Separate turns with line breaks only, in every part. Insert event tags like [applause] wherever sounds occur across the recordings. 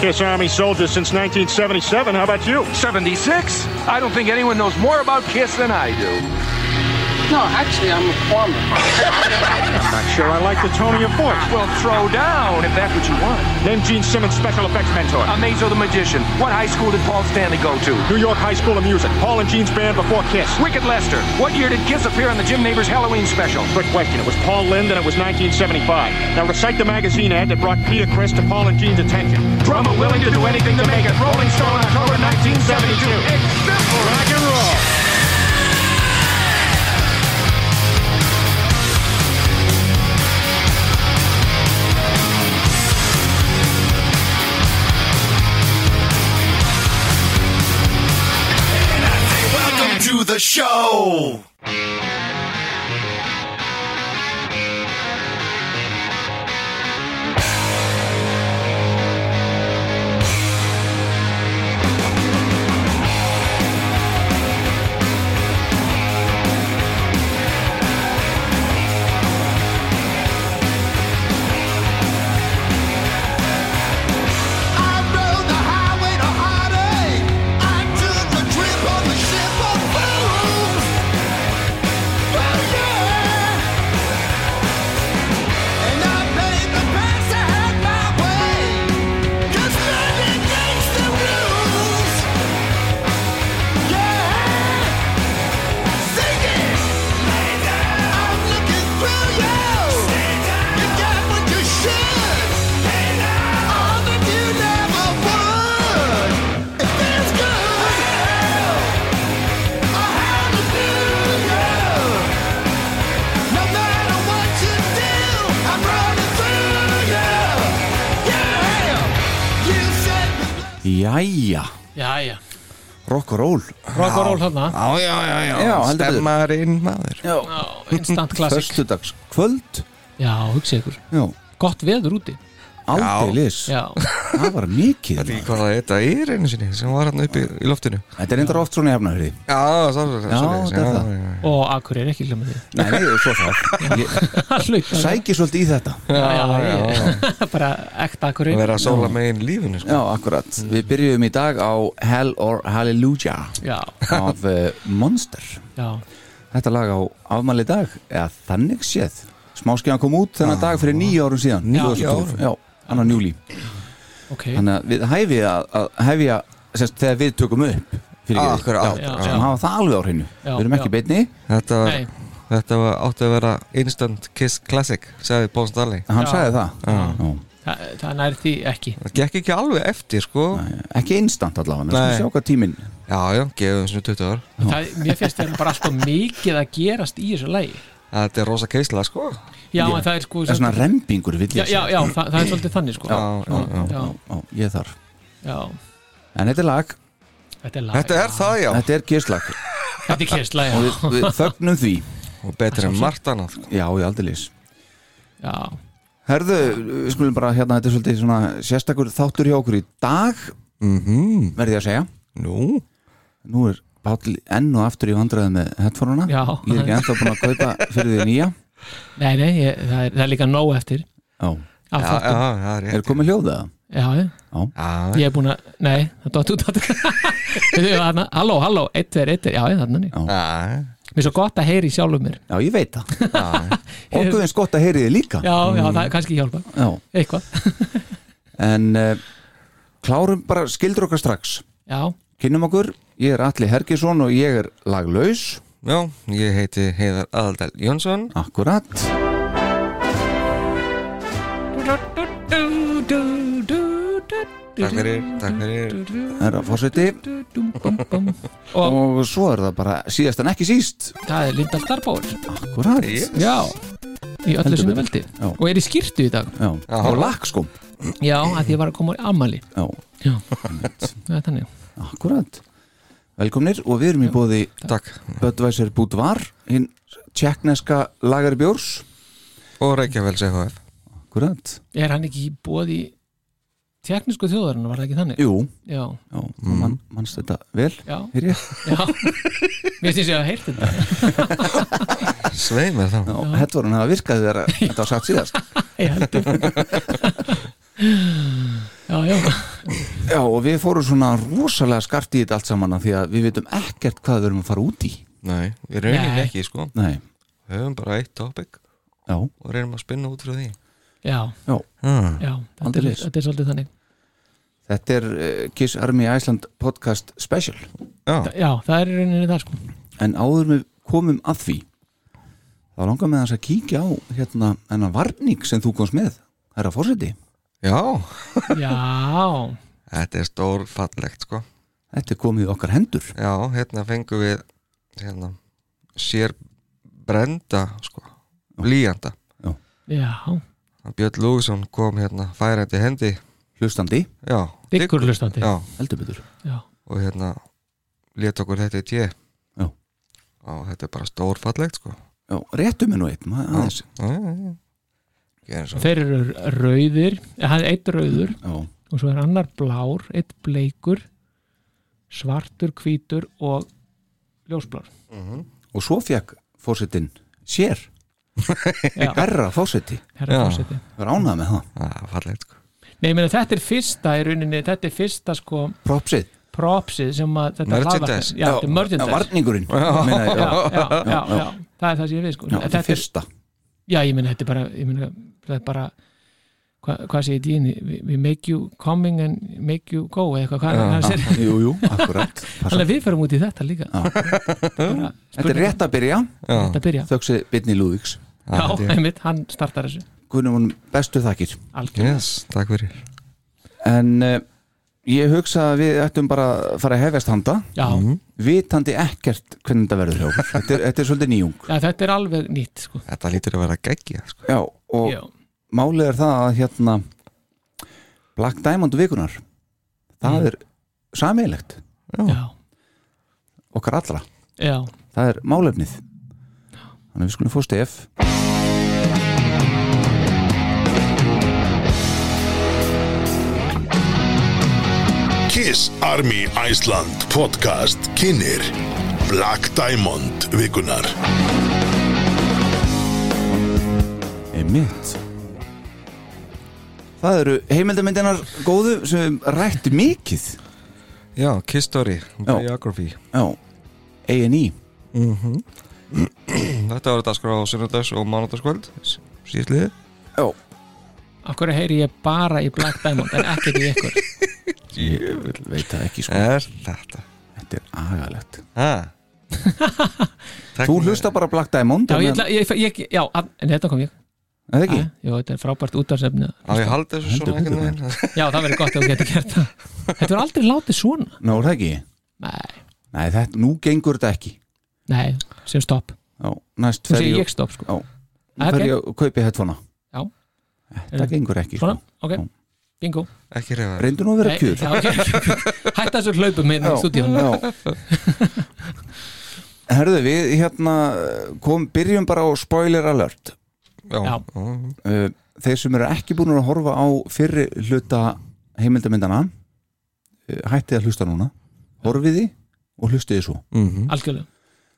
Kiss Army soldier since 1977. How about you?
76? I don't think anyone knows more about Kiss than I do.
No, actually, I'm a plumber.
I'm not sure I like the tone of your voice.
Well, throw down if that's what you want.
Name Gene Simmons' special effects mentor.
Amazo the Magician. What high school did Paul Stanley go to?
New York High School of Music. Paul and Gene's band before Kiss.
Wicked Lester. What year did Kiss appear on the Jim Neighbors Halloween special?
Quick question. It was Paul Lind and it was 1975. Now recite the magazine ad that brought Peter Chris to Paul and Gene's attention.
Drummer willing to do anything to make it. Rolling Stone, October 1972.
Rock and roll.
Welcome to the show. I rode the highway to heartache. I took a trip on the ship of fools. Well, yeah. And I made the best I had my way. 'Cause none against the rules. Yeah. Sing it. I'm looking through you. You got what you should. All that you never would. It feels good. Oh, hallelujah. No matter what you do, I'm running through you. Yeah. You set me free.
Jæja,
Jæja,
rock and roll
rock and roll þarna
Já, já, já, já,
Já, heldur betur.
Stemmarinn maður
Já,
Já, Instant classic
Föstudags kvöld
Já, hugsa ykkur
Já,
Gott veður úti
aldeilis
Já,
Það var mikið
Þetta er
maður.
ekki hvað það þetta er einu sinni sem var hann uppi í loftinu Já,
Þetta er enda oft svona hefna fyrir
það er
Já, þetta er það.
og akkur er ekki [laughs] hljóma því
Nei, nei, svo það Ég
Hann hlaut að-
Sæki svolítið í þetta
Já, já,
já,
ég- [laughs] Bara ekta akkur
Að vera að sóla megin lífinu sko.
Já, akkurat Við byrjuðum í dag á Hell or Hallelujah
Já,
af uh, Monster
já,
Þetta lag á afmæli í dag eða þannig séð Smáskjæðan kom út
Ah.
þennan dag fyrir nýju árum síðan
Níu
2012. Já, annar njúli
ok
Þannig að við hæfi að, að hefja sérst, þegar við tökum upp fyrir
Ah,
ekki
akkurat,
já,
sem
já.
hafa það alveg á hreinu
Já,
Við erum ekki
já.
í beinni
Þetta, var,
Nei,
þetta var, átti að vera Instant Kiss Classic, sagði Paul Stanley
Hann
Já.
sagði það Já.
það, það nær því ekki
Það gekk ekki alveg eftir sko
Ekki instant allavega, við
Nei.
skulum sjá hvað tíminn
Já, já, gefum svona 20 ár
það, Mér finnst það bara alltaf mikið að gerast í þessu lagi
Þetta er rosa keisla sko
Já,
Já.
en það er sko
Það er svona rembingur vill
já,
ég
já,
segja.
já, það, það er svolítið þannig sko
Já, já, já.
já,
Já, Ég þarf
já.
En þetta er lag,
Þetta er lag
Þetta er það já
þetta er kisslag
Þetta er kistla, já,
og við,
[laughs]
við þögnum því
Og betur en margt annað sko.
Já, ég aldrei lís
já,
Herðu, við skulum bara hérna þetta er svolítið svona sérstakur þáttur hjá okkur í dag
Mhm.
verði ég að segja
Nú
Nú er Páll enn og aftur í vandræði með headphoneuna
já
Ég er ekki ennþá búin að kaupa fyrir því nýja
Nei, nei, ég, það, er, það er líka nóg eftir
Já,
af
Já, já,
þáttum.
það er
er
rétt
komið hljóðið það?
já, já.
Já,
Ég er búin að, nei, það dótt út [laughs] að Halló, halló, eitt, tveir, eitt, tveir Já, ég, þannig
Já.
já
Mér er svo gott að heyri sjálfum mér
Já, ég veit það
[laughs]
Okkur eins gott að heyri þið líka
Já, já, það kannski hjálpa
Já.
Mm. Eitthvað,
En uh, klárum bara skildur okkar strax
já,
Kynnum okkur, ég er Atli Hergisson og ég er laglaus
Já, ég heiti Heiðar Aðaldal Jónsson
Akkurat
Takk fyrir, takk fyrir
Herra fórseti
og
Og svo er það bara síðast en ekki síst
það er Linda Starbóður
Akkurat
Yes.
Já, í öllu
Heldur
sinni
betur.
veldi
Já.
og er í skýrtu í dag
Já, og lagskum
Já, að ég var að koma á ammali
Já,
Já, það er þannig
akkurat Velkomnir og við erum í bóði
Takk
Bödvæsir Búdvar hinn tjekkneska lagari bjórs
Og Reykjavíls EHF
Akkurat
Er hann ekki búið í teknísku þjóðarinn, var það ekki þannig?
Jú,
Já,
já, man, manst þetta vel
já,
Hér ég
já Mér finnst ég að heyrta þetta
Sveið mér þá
Já, Hettvorun hafa virkað þegar að- þetta var sagt síðast
Ég heldur Já, já
Já, og við fórum svona rosalega skart í þetta allt saman af því að við veitum ekkert hvað við erum að fara út í
Nei, við rauninni
Nei.
ekki sko
Nei,
Við höfum bara eitt topic
já,
og reynum að spinna út frá því
já,
já
hmm.
já þetta er,
Aldeilis.
þetta er svolítið þannig
Þetta er eh, Kiss Army Iceland podcast special
Já,
Já, það er í rauninni það sko
En áður við komum að því þá langar með þess að kíkja á hérna enna varning sem þú komst með Herra fórseti,
já,
Já,
þetta er stór fallegt sko
þetta er komið í okkar hendur
Já, hérna fengum við hérna, sér brenda sko, blíjanda
já,
Björn Lúgson kom hérna færandi hendi
hlustandi,
Já,
diggur hlustandi
Já,
heldur betur
já.
og hérna let okkur þetta í tjé
Já.
og þetta er bara stór fallegt sko
Já, réttu mér nú einn, ma- aðeins
Já, já, já. Gerum svo.
Þeir eru rauðir Já, það er eitt rauður
Já,
og svo er annar blár, eitt bleikur svartur, hvítur og ljósblár
og svo fekk fórsetin sér,
Já,
[laughs] herra fórseti
herra
Já.
fórseti
Við erum ánað með það,
Já, fallegt sko
Nei, meni, þetta er fyrsta í rauninni, þetta er fyrsta sko
propsið
propsið sem að þetta
Merchandise.
hlaðvarp- Já, þetta er
Já,
merchandise
varningurinn meina ég,
já,
já.
já, já,
já.
já, það er það sem ég við sko
Já,
En
þetta er
þetta er,
fyrsta
já, ég meina, þetta er bara, ég meina, þetta er bara hva, hvað segir Dín, we, we make you coming and make you go eða eitthvað, hvað
Já.
hann
[laughs]
sér
Jú, jú, [laughs] akkurat
Þannig
Passa.
að við ferum út í þetta líka
Já.
Bara
Þetta er
spurning-
rétt að byrja
Já,
Þetta byrja
Þöksi Byrni Lúðvíks
Já,
þetta er-
einmitt, hann startar þessu
Guðnum honum bestu þakir
Algjörlega
Yes, takk fyrir
En uh, ég hugsa að við ættum bara að fara að hefjast handa
Já,
Vitandi ekkert hvernig þetta verður hjá okkur þetta, er- þetta er svolítið nýjung
já, þetta er alveg nýtt sko.
Þetta lítur að vera geggja sko.
Já, og
Já,
málið er það að hérna Black Diamond vikunar Það
Mm.
er sameiglegt
já,
okkar allra
já
Það er málefnið Þannig að við skulum fórst ef
Kiss Army Iceland podcast kynir Black Diamond vikunar
Einmitt Það eru heimildamyndinar góðu sem við rætt mikið
Já, Kiss Story, Biography
Já, A&E
Þetta var þetta skrá á sunnudags og mánudagskvöld Sýsliði
Já,
Af hverju heyri ég bara í Black Diamond en ekkert í ykkur
ég veit það ekki sko
Er þetta
Þetta er agalegt
ha.
Þú hlusta bara á Black Diamond
Já, ég,
en-
ætla- ég, ég, já að, en þetta kom ég
Er það ekki?
Æ, Jú, þetta er frábært útvarsefni
Á ég haldi þessu
Heldur
svona
betur,
einhvern veginn
Já, það verður gott ef þú getur gert það Þetta verður aldrei látið svona
Ná, er það ekki?
Nei,
Nei, þetta, nú gengur þetta ekki
nei, sem stopp
Já, næst
Þú
fer
segir
ég
ég stopp sko
Já,
Ah,
fer
ok.
ég að kaupi headfona
Já.
Þetta gengur ekki sko
Svona, ok, bingo
Ekki reyfa
Reyndu nú að vera
Nei,
kjur
já, ok. [laughs] Hætta þessu hlaupum með stúdíun
Já
[laughs]
Herðu, við hérna kom, byrjum bara á spoiler alert
Já.
Mhm.
Uh, þeir sem eru ekki búin að horfa á fyrri hluta heimildamindana uh, hættið að hlusta núna horfiði og hlustiði svo
Mhm.
Algjörlega,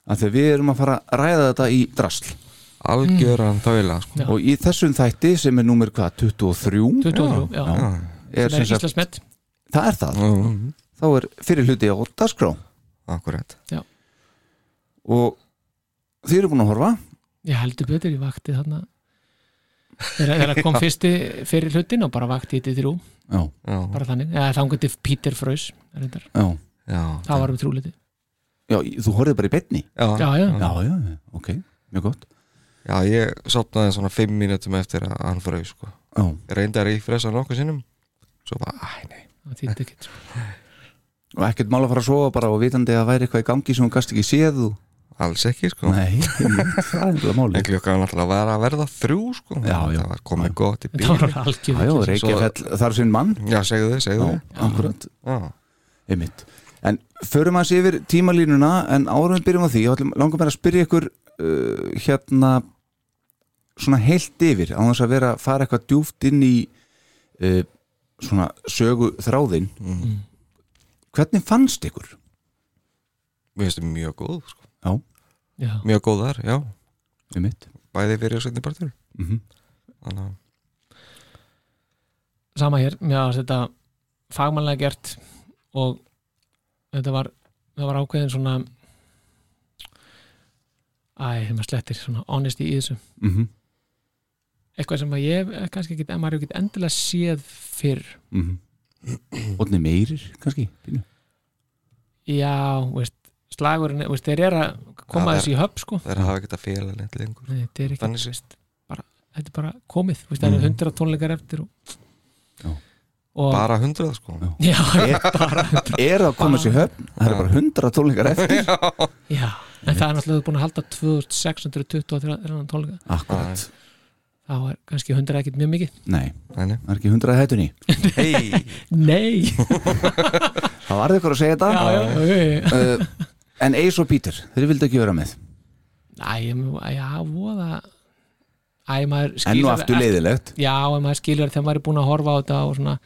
af því að við erum að fara að ræða þetta í drasl
Algjöran þaula sko.
Já.
og í þessum þætti sem er númer hvað 23
23, já, já.
er
Það
sem
er
sagt,
Íslandsmet
það er það
Mhm.
þá er fyrri hluti á dasgrá
Akkurat
og þið eru búin að horfa
Ég heldur betur, ég vakti þarna Þegar þegar kom fyrsti fyrir hlutin og bara vakti ég til þrjú
já,
Já,
bara þannig, eða þangur til Peter Fröys reyndar.
já,
já,
það var um trúleiti
já þú horfið bara í betni
já.
já, já,
já, já, ok, mjög gott
já, ég sopnaði svona fimm mínutum eftir að hann fröð sko.
já.
Reyndi að reyfresa nokkuð sinnum Svo bara, æ, nei
það þýtti ekkert sko.
og ekkert mál að fara að sofa bara og vitandi að það væri eitthvað í gangi sem hún gast ekki séð og
Alls ekki, sko
Nei, [laughs] það er eitthvað
En
máli
klukkan alltaf var að verða þrjú, sko
Já, já.
Það var komið gott í bíl
það var algjör
Jájó,
vitleysa.
Reykjafell þarf sinn mann
Já, segðu þið, segðu þið
Akkurat,
Já,
einmitt En förum aðeins yfir tímalínuna en árum við byrjum á því, ég ætlum- langar mér að spyrja ykkur uh, hérna svona heilt yfir á þess að vera að fara eitthvað djúft inn í uh, svona sögu þráðinn
Mm.
Mm.
Hvernig fannst ykkur?
við veistum mjög góð, sko
Já,
Já.
Mjög góðar, já,
einmitt
bæði fyrir og setni partur
mm -hmm.
Þannig að,
sama hér, mér varst þetta fagmannlega gert og þetta var það var ákveðin svona æ, þeim að slettir svona honesty í þessu
mm -hmm.
eitthvað sem að ég hef kannski ekki, maður hefur ekki endilega séð fyrr
Otni mhm. meirir, kannski Pínu.
já, veist, slagurinn veist, þeir eru að koma
Það er-
þessi í höpp sko.
þeir hafa ekkert að fela neitt lengur
Nei, þetta er ekki
Þannig sé.
veist, bara, þetta er bara komið, veist, það eru
Mhm.
hundra tónleikar eftir og,
Já.
og
bara hundrað sko
Já.
já, [laughs] bara,
Er það að koma sér höfn Það eru bara hundra [laughs] tónleikar eftir
já, en það er náttúrulega búin að halda 2623 tónleika
Akkurat,
þá er kannski hundra ekkert mjög mikið
nei,
Þannig.
það er ekki hundrað hættunni
hei,
nei,
Það varði ykkur að segja
já,
þetta
já, já, já, já.
uh, En Ace og Peter, þeir vildu ekki vera með
næ, ég mú- já, voða æ,
En
maður
nú
skilur-
aftur leiðilegt
já, en maður skilur þegar maður er búin að horfa á þetta og svona,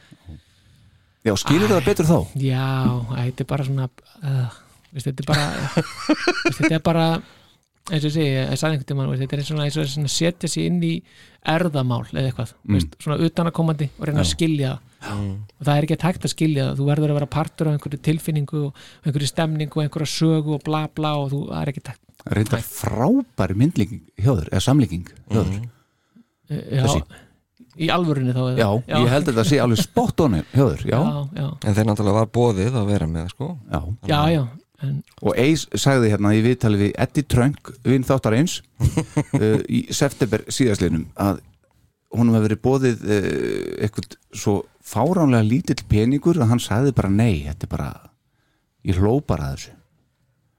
Já, skilur það betur þá
já, æ, þetta er bara svona uh, veist, þetta er
[laughs]
bara veist, þetta er bara eins og ég segi, ég sagði einhvern tímann veist, þetta er svona eins og svona setja sig inn í erðamál eða eitthvað, veist, svona utanakomandi og reyna að
Mm. Já.
skilja það
Mm.
og það er ekki hægt að skilja það, þú verður að vera partur af einhverju tilfinningu og einhverju stemningu og einhverju sögu og bla bla og þú, það er ekki hægt
Reyndar frábæri myndling hjóður, eða samlíking hjóður mm.
Eh, já,
Þessi.
í alvörunni þá eða?
Já, ég held að þetta sé alveg spot on hjóður Já,
já, já,
en þeir náttúrulega var bóðið að vera með sko
já
já, já. En,
Og Ace sagði hérna í viðtali við Eddie Trunk, vinn þáttar [laughs] eins uh, í september síðastlinum að honum hefur verið bóðið uh, eitthvað svo fáránlega lítill peningur að hann sagði bara nei, þetta er bara ég hló bara að þessu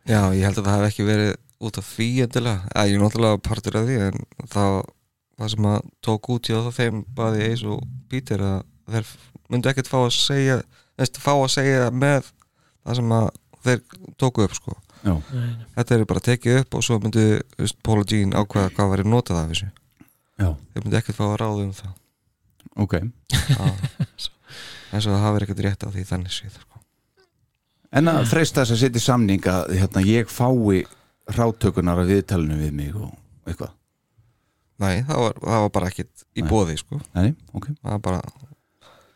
já, ég held að það hef ekki verið út af því endilega, eða ég er náttúrulega partur af því en það, það sem að tók út hjá þeim bæði Eis og Peter að þeir myndu ekkert fá að segja neist, fá að segja með það sem að þeir tóku upp sko
Já,
nei, nei.
þetta eru bara tekið upp og svo myndu veist, Paul og Jean ákveða hvað verið notað af þessu
já,
þeir myndu ekkert fá að ráða um það
[laughs] ok
Já. eins og það hafi ekkert rétt á því þannig séð sko.
En að freista þess að setja í samning að hérna, ég fái rátökunar að viðtalinu við mig og eitthvað
Nei, það var, það var bara ekkert í
Nei.
bóði sko.
Nei, ok
það var bara,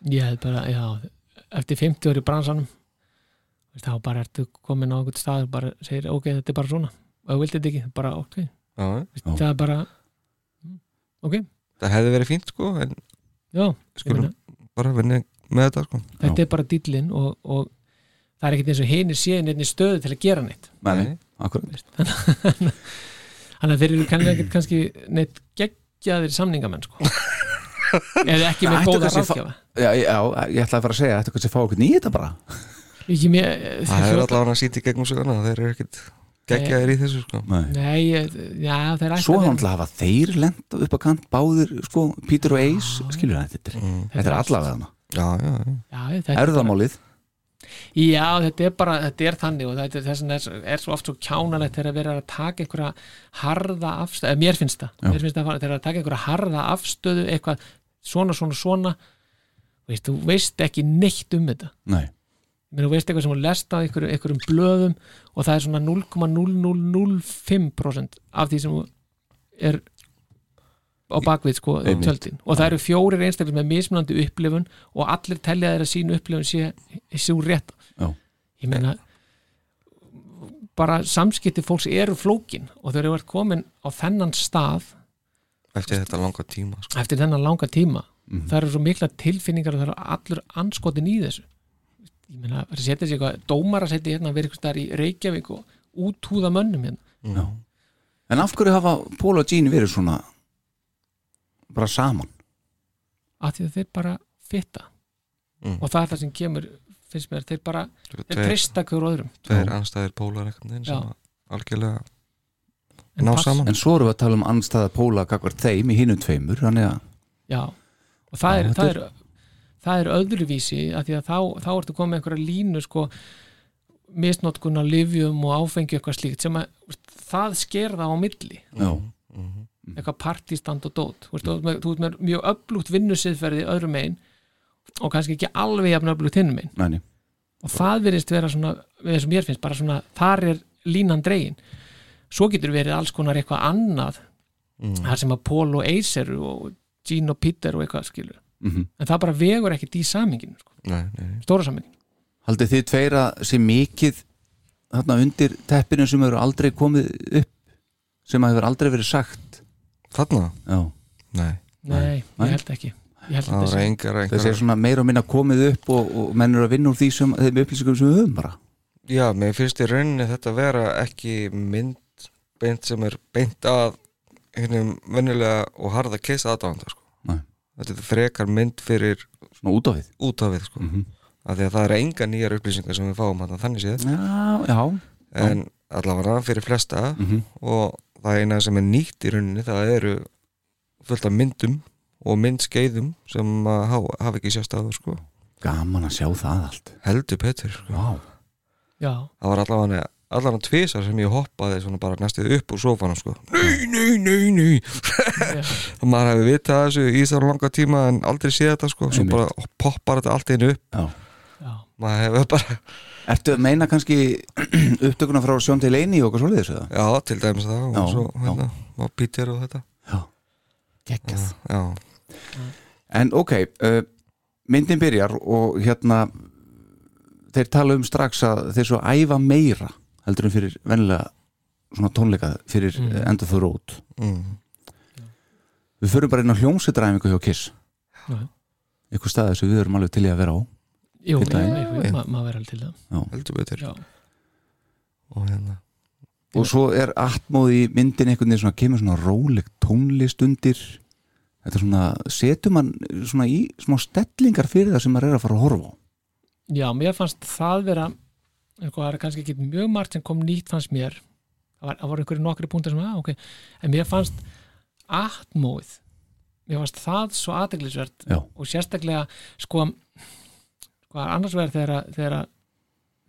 Ég held bara, já, eftir 50 ári bransanum veist, þá bara ertu komin á einhvern stað og bara segir, ok, þetta er bara svona og þú vildi þetta ekki, bara ok
já,
veist,
Já.
það er bara, ok
það hefði verið fínt sko, en
já, ég
skulum
meina,
bara vinni með þetta sko.
þetta er bara dýllinn og, og það er ekkert eins og hinir séin einnig stöðu til að gera neitt
Nei, nei, akkurat
þannig að þeir eru kannski ekkert kannski neitt geggjaðir samningamenn sko.
[laughs]
eða ekki
Það ættu
með góða
kannski að fá-
ráðgjafa
Já, já, ég ætlaði að fara að segja, þetta er kannski að fá okkur nýja þetta bara
ekki mér
það hefur allavega að sýti gegnum sig annað þeir eru ekkert geggjaðir í þessu sko.
Nei.
nei, ég- já, það er
Svo handla hafa þeir lenda upp að kant báðir, sko, Peter og Ace skilur það, Ah. þetta er, þetta er allavega hana
Mm. já, já, já.
Erðamálið,
Já, þetta er bara, þetta er þannig og þetta er, þess vegna er, er svo oft svo kjánalegt þegar verið er að taka einhverja harða afstöðu, eða mér finnst það,
Já.
mér finnst það að þegar að taka einhverja harða afstöðu, eitthvað svona, svona, svona veist, þú veist ekki neitt um þetta
nei,
Menn, þú veist eitthvað sem hún lest á einhverjum, einhverjum blöðum og það er svona 0,0005% af því sem þú er á bakvið sko
Einmitt.
tjöldin og það eru fjórir einstaklega með mismunandi upplifun og allir telja þeir að sínu upplifun sé, sé úr rétt
Já.
ég meina bara samskipti fólks eru flókin og þau eru verið komin á þennan stað
eftir þetta langa tíma sko.
eftir þennan langa tíma það eru svo mikla tilfinningar og það eru allur anskotin í þessu ég meina, það setja sér eitthvað dómar að setja hérna að vera eitthvað staðar í Reykjavík og útúða mönnum hérna
já En af hverju hafa Paul og Gene verið svona bara saman?
af því að þeir bara fitta
Mm.
og það er það sem kemur finnst mér, þeir bara, þeir
tveir,
treysta hver öðrum
tveir anstæðir pólar einhvern veginn sem
Já.
að algjörlega
En
ná
pass-
saman
En svo erum við að tala um anstæða Póla kakvart þeim í hinum tveimur, þannig að
Já, og það er,
Já,
það
þetta
er, það er öðruvísi af því að þá, þá ertu komið með einhverja línu sko, misnotkun á lifjum og áfengi og eitthvað slíkt sem að veist, það sker það á milli
Já,
Mhm.
eitthvað partístand og dót veist, mm. með, þú ert með mjög öflugt vinnusiðferði öðrum megin og kannski ekki alveg jafn öflugt hinnum megin
næni,
og það virðist vera svona, eins og mér finnst bara svona, þar er línan dregin svo getur verið alls konar
Mm.
eitthvað annað þar sem að Paul og Ace eru og Gene og Peter og eitthvað skilur
Mhm.
en það bara vegur ekkert í samingin sko,
nei, nei, nei.
stóra samingin
Haldið þið tveira sem mikið þarna undir teppinu sem hefur aldrei komið upp sem hefur aldrei verið sagt
Þarna?
Já.
Nei,
nei,
Nei.
ég held ekki ég held að
það var
þessi,
engar,
Það sé
engar
svona meira og minna komið upp og, og menn eru að vinna úr því sem þeim upplýsingum sem við höfum bara
Já, mér finnst í rauninni þetta vera ekki mynd beint sem er beint að einhvernum venjulega og harða kissa aðdáðanda sko.
Nei.
Þetta er frekar mynd fyrir
svona út á við
út af við sko.
Mhm.
mm því að það er enga nýjar upplýsingar sem við fáum hann þannig séð
Já, já,
en allavega fyrir flesta
Mhm.
og það eina sem er nýtt í rauninni það eru fullt af myndum og myndskeiðum sem að hafa, hafa ekki sérst áður sko.
gaman að sjá það allt
heldur betur sko.
Vá,
já,
það var allavega allavega tvisar sem ég hoppaði svona bara næstið upp úr sófanum sko. nei, nei, nei, nei
[laughs]
og maður hefði vitað þessu í þar langa tíma en aldrei séð þetta sko. svo
Einmitt.
bara poppar þetta allt einu upp
já
já,
maður hefur bara,
Ertu að meina kannski [clears throat] upptökuna frá Sjón til eini og okkar svoleiðis eða?
já, til dæmis það og
Já,
svo,
já.
hérna, og Peter og þetta
Já, geggjað
já,
En ok, uh, myndin byrjar og hérna þeir tala um strax að þeir svo æfa meira heldur en fyrir venlega svona tónleika fyrir mm. End of the Road
mm.
Við förum bara inn á hljómsveitræfingu hjá Kiss
Já.
Ykkur staðið sem við erum alveg til í að vera á
jú,
Fyrir
já,
daginn.
já, já, ma- maður verður alveg til það
heldur betur
já,
og hérna
og svo er atmóð í myndin einhvern veginn svona kemur svona róleg tónlist undir þetta er svona setur mann svona í smá stellingar fyrir það sem maður er að fara að horfa á
já, mér fannst það vera eitthvað, það er kannski ekki mjög margt sem kom nýtt fannst mér það var, það var einhverju nokkri púntar sem, að, ok en mér fannst atmóið mér fannst það svo aðteglisvert
Já.
og sérstaklega sko, sko annars verður þegar, að- þegar að-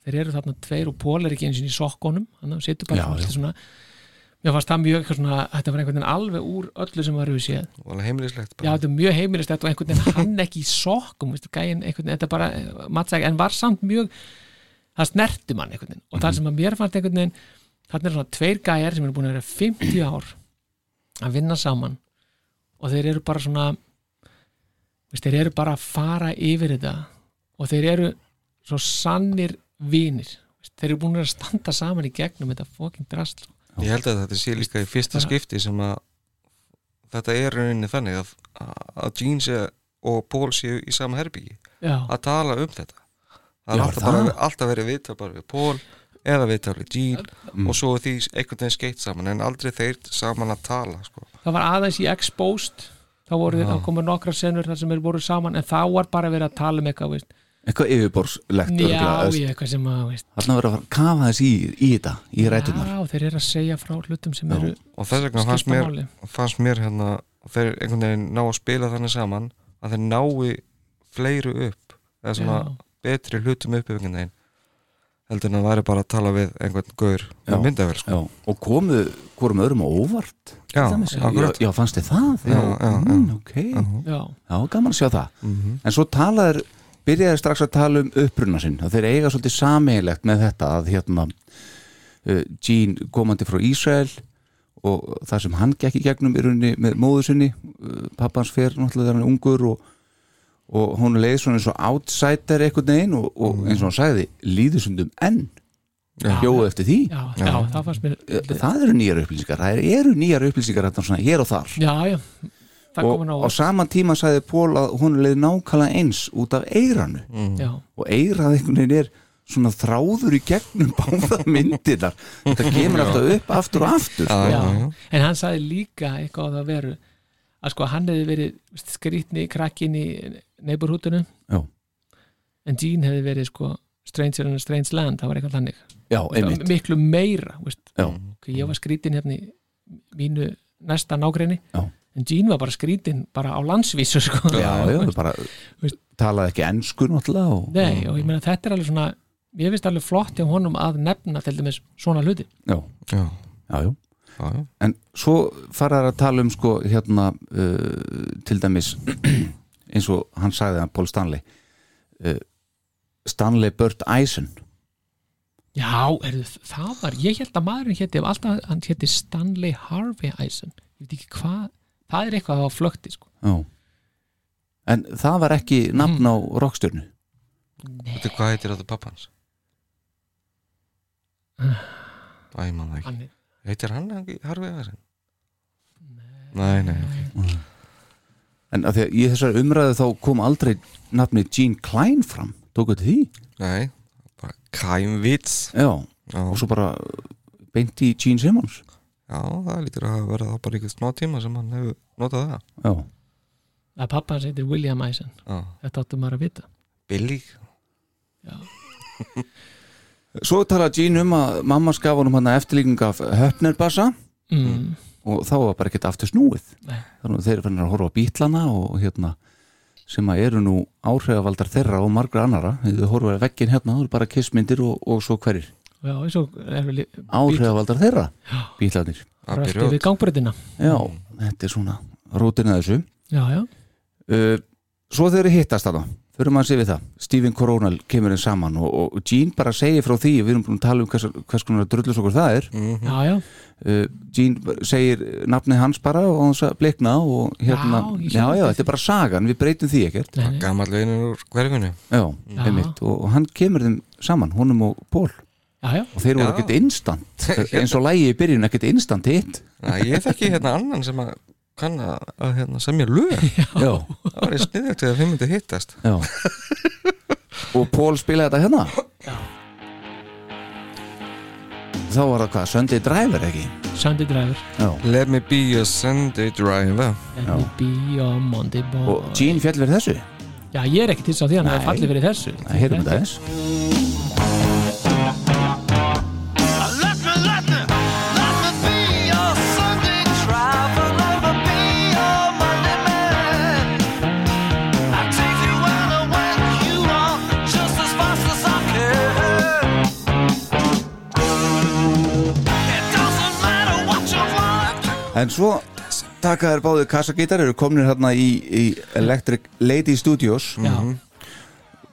þeir eru þarna tveir og Pól er ekki eins og í sokkunum þannig að setur bara
Já,
já,
já.
svona mér fannst það mjög eitthvað svona, þetta var einhvern veginn alveg úr öllu sem var við séð
og alveg heimilislegt
Já,
bara.
þetta er mjög heimilistætt og einhvern veginn hann ekki í sokkum, veistu, gæin, einhvern veginn, þetta bara eh, mattsa ekki, en var samt mjög það snerti mann einhvern veginn og það sem að mér fannst einhvern veginn, þarna er svona tveir gæjar sem eru búin að vera 50 ár að vinna saman og þeir eru bara svona veist, þeir eru bara að fara yfir þetta og þeir eru svo sannir vinir veist, þeir eru búin að standa saman í gegnum þetta fókin drast
ég held að þetta sé líka í fyrsta
Bara-
skipti sem að þetta er rauninni þannig að, að Jean sé og Paul séu í sama herbyggi
Já,
að tala um þetta það er
Já,
alltaf,
það?
bara, alltaf verið viðtal bara við Paul eða viðtal við Jean
Mm.
og svo er því einhvern veginn skeitt saman en aldrei þeir saman að tala sko.
það var aðeins í Exposed þá voru þeir að koma nokkra senur þar sem þeir voru saman en þá var bara verið að tala um eitthvað veist.
eitthvað yfirborslegt
já, ég, eitthvað sem að veist.
þarna verður að fara að kafa þess í, í þetta í rætunar
já, þeir eru að segja frá hlutum sem eru
og þess vegna fannst
Skipta
mér,
máli.
fannst mér hérna, þeir einhvern veginn ná að spila þannig saman að þeir nái fleiru upp eða svona
Já.
betri hlutum upp einhvern veginn heldur en að væri bara að tala við einhvern gaur
Já.
með myndavel sko.
já, og komu hvorum öðrum á óvart
já,
Það með sér. já,
akkurat
já, fannst þið það?
Já, já, já.
Mm, ok,
já,
já, gaman að sjá það en svo talaður, byrjaði strax að tala um uppruna sinn og þeir eiga svolítið sameigilegt með þetta að hérna uh, Jean komandi frá Ísrael og það sem hann gekk í gegnum í rauninni með móðu sinni uh, pappans fer náttúrulega þegar hann er ungur og, og hún leið svona eins og outsider einhvern veginn og, og eins og hann sagði líðusundum enn hjóðu eftir því
Mm. já, já, það fannst mér
það eru nýjar upplýsingar, það eru nýjar upplýsingar þetta svona hér og þar
já, já, það
og
komur ná
á sama tíma sagði Pól að hún leið nákvæmlega eins út af eiranu
Mm.
já,
og eirað einhvern veginn er svona þráður í gegnum báða [laughs] myndirnar þetta kemur alltaf upp aftur og aftur
Já,
já.
já, já.
en hann sagði líka eitthvað á það veru að sko hann hefði verið veist, skrýtni krakkin í neighborhoodinu
já,
en Jean hefði verið sko Stranger in a Strange Land, það var eitthvað þannig
já einmitt
miklu meira veist,
já,
Ok, ég var skrítin hérna í mínu næsta nágrinni
Já.
en Jean var bara skrítin bara á landsvísu sko.
já, já þau bara
Veist.
talaði ekki ennsku náttúrulega og,
Nei, og ég meina þetta er alveg svona ég finnst alveg flott hjá honum að nefna til dæmis svona hluti
já,
já,
já, já
já, já.
en svo fara þær að tala um sko hérna uh, til dæmis [clears throat] eins og hann sagði hann Paul Stanley uh, Stanley Burt Eisen
Já, er, það var, ég held að maðurinn héti alltaf, hann héti Stanley Harvey Eisen ég veit ekki hvað, það er eitthvað að það var flökti sko.
já, en það var ekki nafn á rockstjörnu
Þetta hvað heitir þetta pappans? Æ, mann það ekki
hann er
Heitir hann ekki Harfi Eversen? Nei, nei, ok
en af því að í þessari umræðu þá kom aldrei nafni Gene Klein fram tók þetta því?
Nei, bara kæmvits
Já,
Já,
og svo bara beint í Gene Simmons
já, það lítur að hafa verið þá bara ykkur smá tíma sem hann hefur notað það
Já,
að pappa hans heitir William Eisen
Já,
þetta áttu maður að vita
Billy
svo talaði Gene um að mamma skaf honum hann eftirlíking af höfnerbassa
mm.
og þá var bara ekkert aftur snúið
Nei.
þannig að þeir eru fannir að horfa á bítlana og hérna sem að eru nú áhrifavaldar þeirra og margra annara þau horfa að veggin hérna, þá eru bara kissmyndir og, og svo hverjir,
já, og svo er við
áhrifavaldar þeirra bítlanir,
Abbi
rætti við
Rjótt
gangbröðina
já, þetta er svona rótin að þessu
já, já,
uh, svo þeir eru hittast þarna fyrir maður sé við það, Stephen Coronel kemur þeim saman og, og Gene bara segir frá því við erum búin að tala um hvers, hvers konar drullus okkur það er
Mhm.
já, já,
uh, Gene segir nafnið hans bara og hans að blikna og hérna,
Já, ég sé
já, já,
þetta.
þetta er bara sagan við breytum því ekkert
nei, nei,
Gammal vinur úr hverfinu
Já,
Já.
einmitt og, og hann kemur þeim saman, honum og Pól
já, já
og þeir voru
Já.
ekkert instant eins og lægi í byrjun ekkert instant hitt
Hérna, Nei, ég þekki hérna annan sem að kann að, að hérna, semja lög
Já,
Það var í sniðjögt þegar þeim myndi hittast
já [laughs] og Pól spilaði þetta hérna þá var það hvað, Sunday Driver ekki
Sunday Driver,
já.
Let me be your Sunday driver
let me be on Monday
og
morning
Gene fjall verið þessu
já, ég er ekki til sá því hann
Nei.
hefði fallið verið þessu
það heyrum við þess
Let me, let me, let me be your Sunday driver, let me be your Monday man. I take you out and when you are just as fast as I can. It doesn't matter what you want.
en svo taka þér báðið kassagítar eru komnir hérna í, í Electric Lady Studios
já,
Mhm.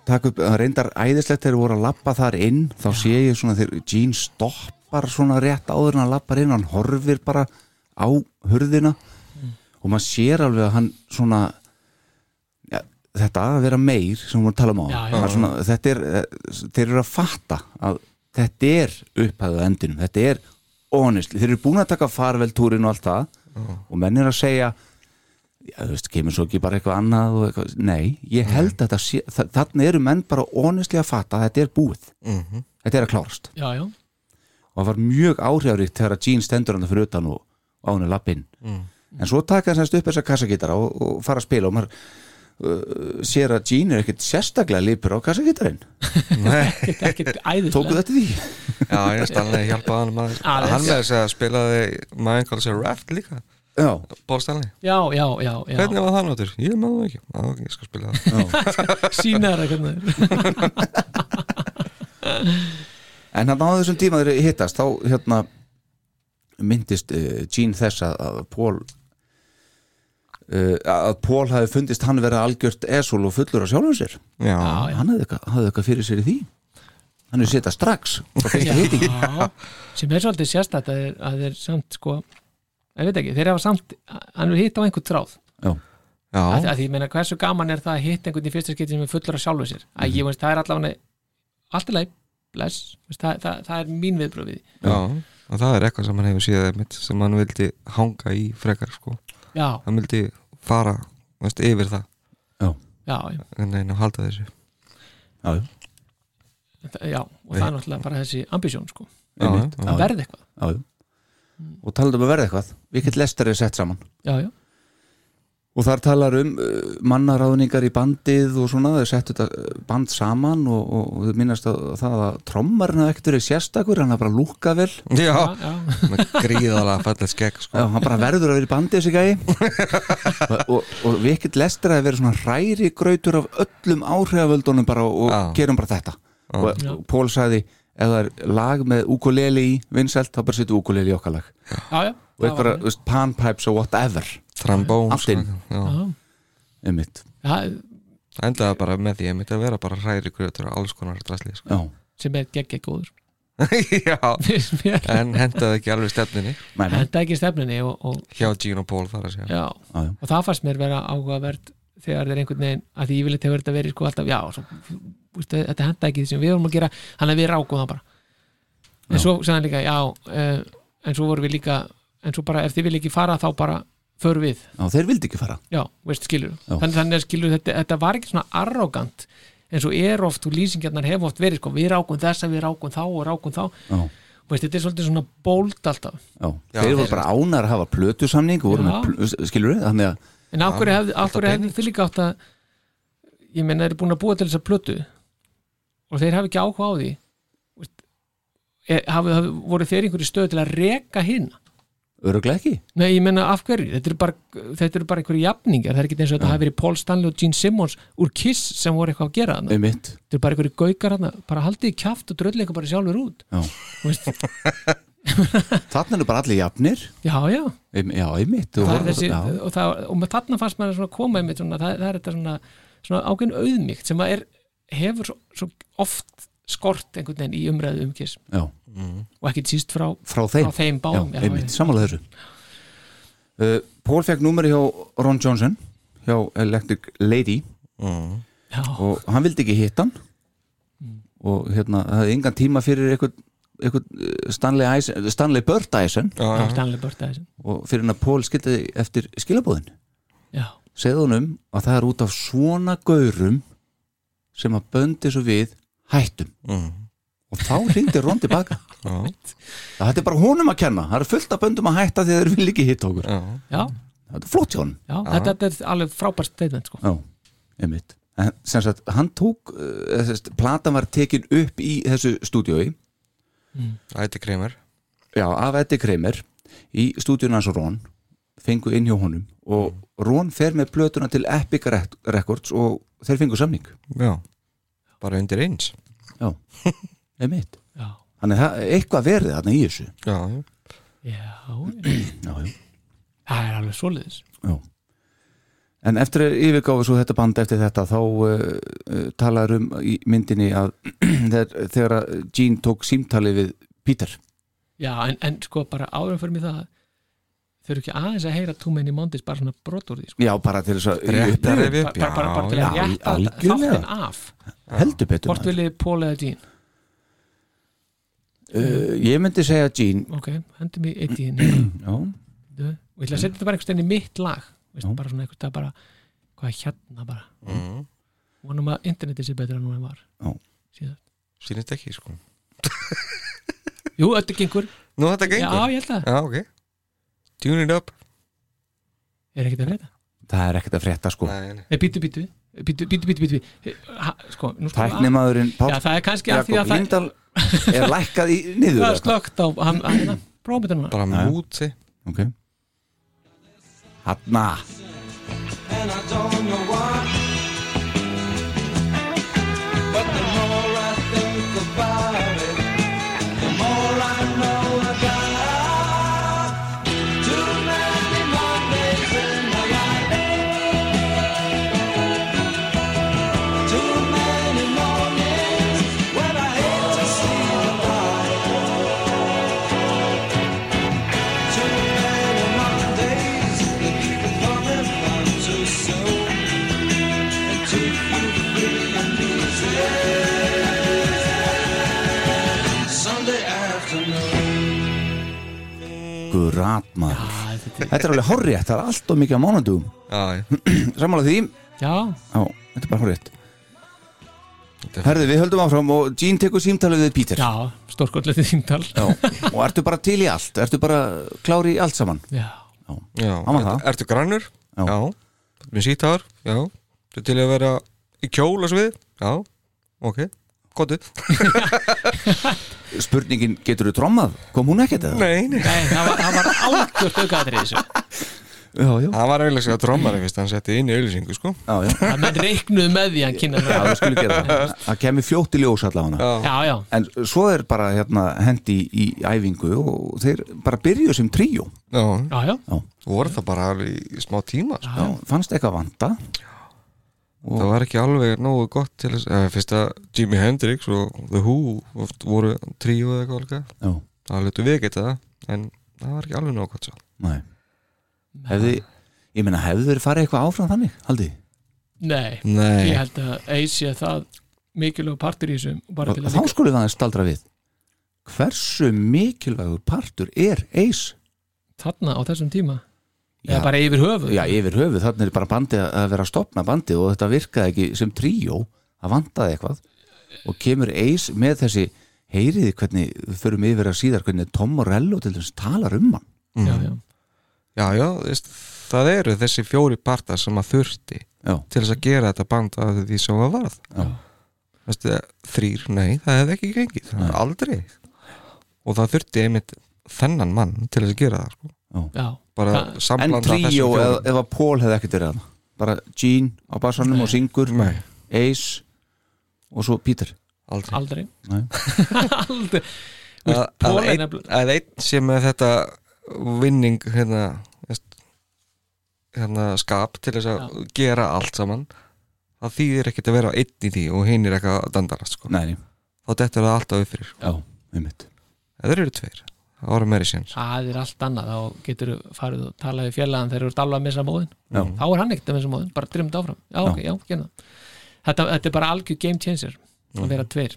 taka upp, það reyndar æðislegt þegar voru að lappa þar inn þá sé ég svona þegar Gene stoppar svona rétt áður en hann lappar inn hann horfir bara á hurðina og maður sér alveg að hann svona ja, þetta að vera meir sem við vorum að tala um á
Já, já.
Hann svona, þetta er, eh, þeir eru að fatta að þetta er upphæðu á endinum þetta er honestly, þeir eru búin að taka farveltúrin og allt það og menn er að segja já, þú veist, kemur svo ekki bara eitthvað annað og eitthvað, nei, ég held að þetta sé, þa- þarna eru menn bara honestly að fatta að þetta er búið,
Mhm.
[laughs]
þetta er að klárast
já, já,
og það var mjög áhrifrikt þegar að Gene stendur hann fyrir utan og á hann er lappinn en svo taka hann semst upp þessa kassagítara og, og fara að spila og maður uh, sér að Gene er ekkert sérstaklega lipur á kassagítarinn,
Nei,
þetta er
[laughs]
ekkert
tóku
æðislega
þetta því
já, ég stanlega hjálpaði hann maður
Aðeins.
Hann með þess að spilaði My Uncle Sir Raft líka
já,
Paul Stanley,
já, já, já, já,
hvernig var það notur? Ég maður það ekki, já, ok, ég skal spila það
sínaður
[laughs]
eitthvað
en hann á þessum tíma þeir hittast, þá hérna myndist uh, Gene þess að, að Paul uh, að Paul hafi fundist hann vera algjört esól og fullur á sjálfum sér
Já,
já, já,
hann hafði eitthvað, hafði eitthvað fyrir sér í því hann er setja strax frá fyrstu hitting
já, sem er svolítið sérstætt að þeir, að þeir samt sko ég veit ekki, þeir hafa samt hann er hitt á einhvern tráð að,
já,
að því ég meina hversu gaman er það að hitta einhvern í fyrsta skipti sem er fullur af sjálfu sér að
Mhm.
ég veist, það er allavega allt í leið, bless, veist, það, það, það er mín viðbröð við því.
já Og það er eitthvað sem hann hefur síðað mitt sem hann vildi hanga í frekar sko
já,
Hann vildi fara, veist, yfir það
já, já,
en neina halda þessu
já,
það- já og það er náttúrulega bara þessi ambisjón sko,
Já,
Einmitt.
já,
að verða eitthvað
já, já. og talað um að verða eitthvað Vikit Lester er sett saman
já, já,
og þar talar um uh, mannaráðningar í bandið og svona þau settu þetta uh, band saman og, og, og þau minnast að, það að trommarinn hafði ekkert verið sérstakur hann hafði bara lúkað vel já,
já,
já, já,
[laughs] með gríðalega fallið skegg sko.
hann bara verður að vera í bandið þessi gæi [laughs] og, og, og Vikit Lester hafði verið svona ræri grautur af öllum áhrifavöldunum bara og,
Já.
og gerum bara þetta og
Já.
Pól sagði ef það er lag með ukulele í vinsælt þá bara setju ukulele í okkar lag
já, já
og
það var
eitthvað,
þannig.
þú veist, panpipes og whatever
Trambón
Allt inn.
sko. já.
Já.
um mitt
Já,
Það endaði bara með því að mitt að vera bara hræri grötur og alls konar drasli sko. [laughs]
Já,
sem er gegg ekki góður
Já,
finnst mér.
en hendaði ekki alveg stefninni
mæmi,
henda ekki stefninni og, og
hjá Gene og Paul þar að segja
já,
já, já,
og það fannst mér vera áhugavert þegar þeir einhvern veginn að því yfirleitt hefur þetta verið sko alltaf já, svo, ústu, þetta henda ekki því sem við vorum að gera hann að við rákum það bara en svo sagði hann líka, já uh, en svo vorum við líka, en svo bara ef þið vil ekki fara þá bara för við
Já, þeir vildi ekki fara
já, veist skilur
Já.
þannig, þannig að skilur þetta, þetta var ekki svona arrogant eins og er oft og lýsingjarnar hef oft verið sko, við rákum þessa, við rákum þá og rákum þá
Já,
veist, þetta er svolítið svona bóld alltaf
já. Þeir voru
þeir-
bara ánar að hafa plötusamning og voru
Já.
með, pl- skilur við, þannig að
en af hverju
Já,
hefði, af
alltaf
hverju hefði
pening.
þið líka átt að ég meina, þeir eru búin að búa til þessa plötu og þeir hafi ekki áhuga á því veist, er, hafi, hafi, voru þeir einhverju stöðu til að reka hinn
öruglega ekki
Nei, ég meina af hverju, þetta eru bara, þetta eru bara einhverju jafningar, það er ekki eins og þetta hafi verið Paul Stanley og Gene Simmons úr Kiss sem voru eitthvað að gera þarna
Einmitt,
þetta eru bara einhverju gaukar hana bara haldið í kjaft og dröðleika bara sjálfur út
Já.
Þú veist,
þarna eru bara allir jafnir
já, já,
Ein- Já, einmitt
það
og,
er þessi,
já,
og, það, og með þarna fannst maður svona koma einmitt svona, það, það er þetta svona, svona ákveðin auðmíkt sem að er, hefur svo, svo oft skort einhvern veginn í umræðu umkis
já,
og ekki síst frá,
frá
frá
þeim
þeim
Já,
báðum já,
einmitt, samanlega þessu uh, Pól fekk númeri hjá Ron Johnson hjá Electric Lady
Mm.
já,
og hann vildi ekki hitta hann og hérna, það hefði engan tíma fyrir eitthvað, eitthvað eh, Stanley, Eisen, Stanley Bird Eisen
Já,
já,
já.
Stanley Börta þessi
og fyrir hann að Pól skiltaði eftir skilabóðin
já,
segði honum að það er út af svona gaurum sem að böndi svo við hættum
Mm.
og þá hringdi Ron tilbaka
Já.
þetta er bara honum að kenna, það er fullt af böndum að hætta því að þeir vil ekki hitta okkur
Já.
já,
þetta er flott hjá honum
já, Þetta, þetta er alveg frábært statement sko.
Já, einmitt en sem sagt, hann tók uh, sest, platan var tekin upp í þessu stúdiói
Æti kremer
já, af Eddie Kramer í stúdíun hans og Rón fengu inn hjá honum og Rón fer með plötuna til Epic Rec- Records og þeir fengu samning
Já. Bara undir eins
já, einmitt
já,
þannig það er eitthvað verið þarna í þessu
Já,
já,
já, já,
það er alveg svoleiðis
já En eftir að yfirgáfa svo þetta band eftir þetta þá uh, uh, talaður um í myndinni að [clears throat] þegar þegar að Gene tók símtali við Peter
Já, en, en sko bara áður fyrir mig það þau eru ekki aðeins að heyra Too Many Mondays bara svona brot úr því sko.
Já, bara til þess að
Rétt að rifja
bara,
upp,
bara, bara, bara til
já,
að rétta
algjörlega.
þáttin af
Heldur betur
Hvort
maður.
viljið þið Paul eða Dean?
uh, Ég myndi segja
[clears throat]
Gene
Ok, hendum í eitt Dean
[clears throat] Já,
og ég ætla að setja þetta bara einhvern veginn í mitt lag veist,
Já.
bara svona einhvern veginn bara hvað er hérna bara
mm.
vonum að internetið sé betra nú en var
Já.
Síðan.
Sýnist ekki sko
Jú, þetta gengur
Nú þetta
Já,
gengur
ég held að,
Já, ok Tune it up
er ekkert að frétta
það er ekkert að frétta sko
Nei, nei.
Nei, býtu, býtu, býtu, býtu, býtu, býtu Eh, ha- Sko, nú sko
Tæknimaðurinn
Já,
Páll
það er kannski að því
Jakob
að það
Lindahl er lækkað í niður
það
eða
er sko- slögt á hann, hann, prófum þetta núna
Bara
Já.
múti
hvað? Ok Hanna
and I don't know why. But the more I think about it, the more I know I got too many Mondays in my life. Too many mornings when I hate to see the light. Too many Mondays that keep it coming from too soon. And too few free and easy. Sunday afternoon.
Gratmaður
Já, þetta er-
Þetta er alveg horrið, það er allt og mikið á mánandum
Já, já.
Hm. Sammála því
Já,
Já, þetta er bara horrið
Þetta er-
Herðu, við höldum áfram og Gene tekur símtalið við Peter
Já, stórkotleiti símtal
Já. Og ertu bara til í allt, ertu bara klári í allt saman
Já,
Já,
Hann var það.
Ertu- Ertu grannur?
Já.
Ertu með sítt hár? Já Ertu til í að vera í kjóla svið? Já, ok Kottu
Spurningin, getur þú trommað? Kom hún ekkert eða?
[laughs] Nei, nei
nei, það var, það var algjört aukaðrið þessu
Já, já,
Hann var auðvitað að trommari fyrst hann setti inn í auðlýsingu sko
já, já.
að menn reiknuðu með því að hann kynna
Já,
það
við skulum gera það Það kemur fljótt í ljós allavega
Já,
Já, já,
En svo er bara hérna, hendi í æfingu og þeir bara byrjuðu sem tríó
já
já, já,
Voru það bara alveg í smá tíma sko.
Já, fannst eitthvað vanda
Það var ekki alveg nógu gott til þess eh, Fyrst að Jimi Hendrix og The Who oft voru tríu eða eitthvað alveg
Já,
Það hlutu við geta það En það var ekki alveg nógu gott svo
nei Hefði, ég meina, hefði verið farið eitthvað áfram þannig, haldið?
Nei,
Nei,
ég held að Ace sé það mikilvæg partur í þessu bara
og
til að
þá skulum við aðeins staldra við hversu mikilvægur partur er eis
þarna á þessum tíma
Já.
eða bara yfir höfuð
já yfir höfuð, þannig er bara bandið að- að vera að stopna bandið og þetta virkaði ekki sem tríó að vandaði eitthvað og kemur eis með þessi heyriði hvernig, við förum yfir að síðar hvernig Tom Morello til þess talar um hann
Mm.
já, já.
já, já, veist, það eru þessi fjóri partar sem að þurfti
já,
til þess að gera þetta band að því sem að varð
Já.
Veist, eh, þrír, nei, það hefði ekki gengið nei. aldrei og það þurfti einmitt þennan mann til þess að gera það sko.
Já.
bara
Það-
en
samblanda
tríó
þessum
ef,
fjórum
ef að Paul hefði ekkert verið hann bara Gene á bassanum og syngur
Nei.
eis og svo Peter
aldrei
aldrei
Nei.
[laughs] aldrei
að, að,
Paul er
einn,
nefnilega-
að einn sé með þetta vinning hérna, veist, hérna skap til þess að gera allt saman það þýðir ekkert að vera einn í því og hinn er eitthvað að dandara sko.
Nei, nei.
þá dettur það alltaf upp fyrir sko.
já, einmitt
eða þeir eru tveir, það voru meiri séns
það er allt annað, þá getur farið og talað við fjallaðan þegar þú ert alveg að missa móðin
Já.
þá er hann ekkert að missa móðin, bara drömmt áfram já, ok, já, gerna þetta, þetta er bara algjör game changer að vera tveir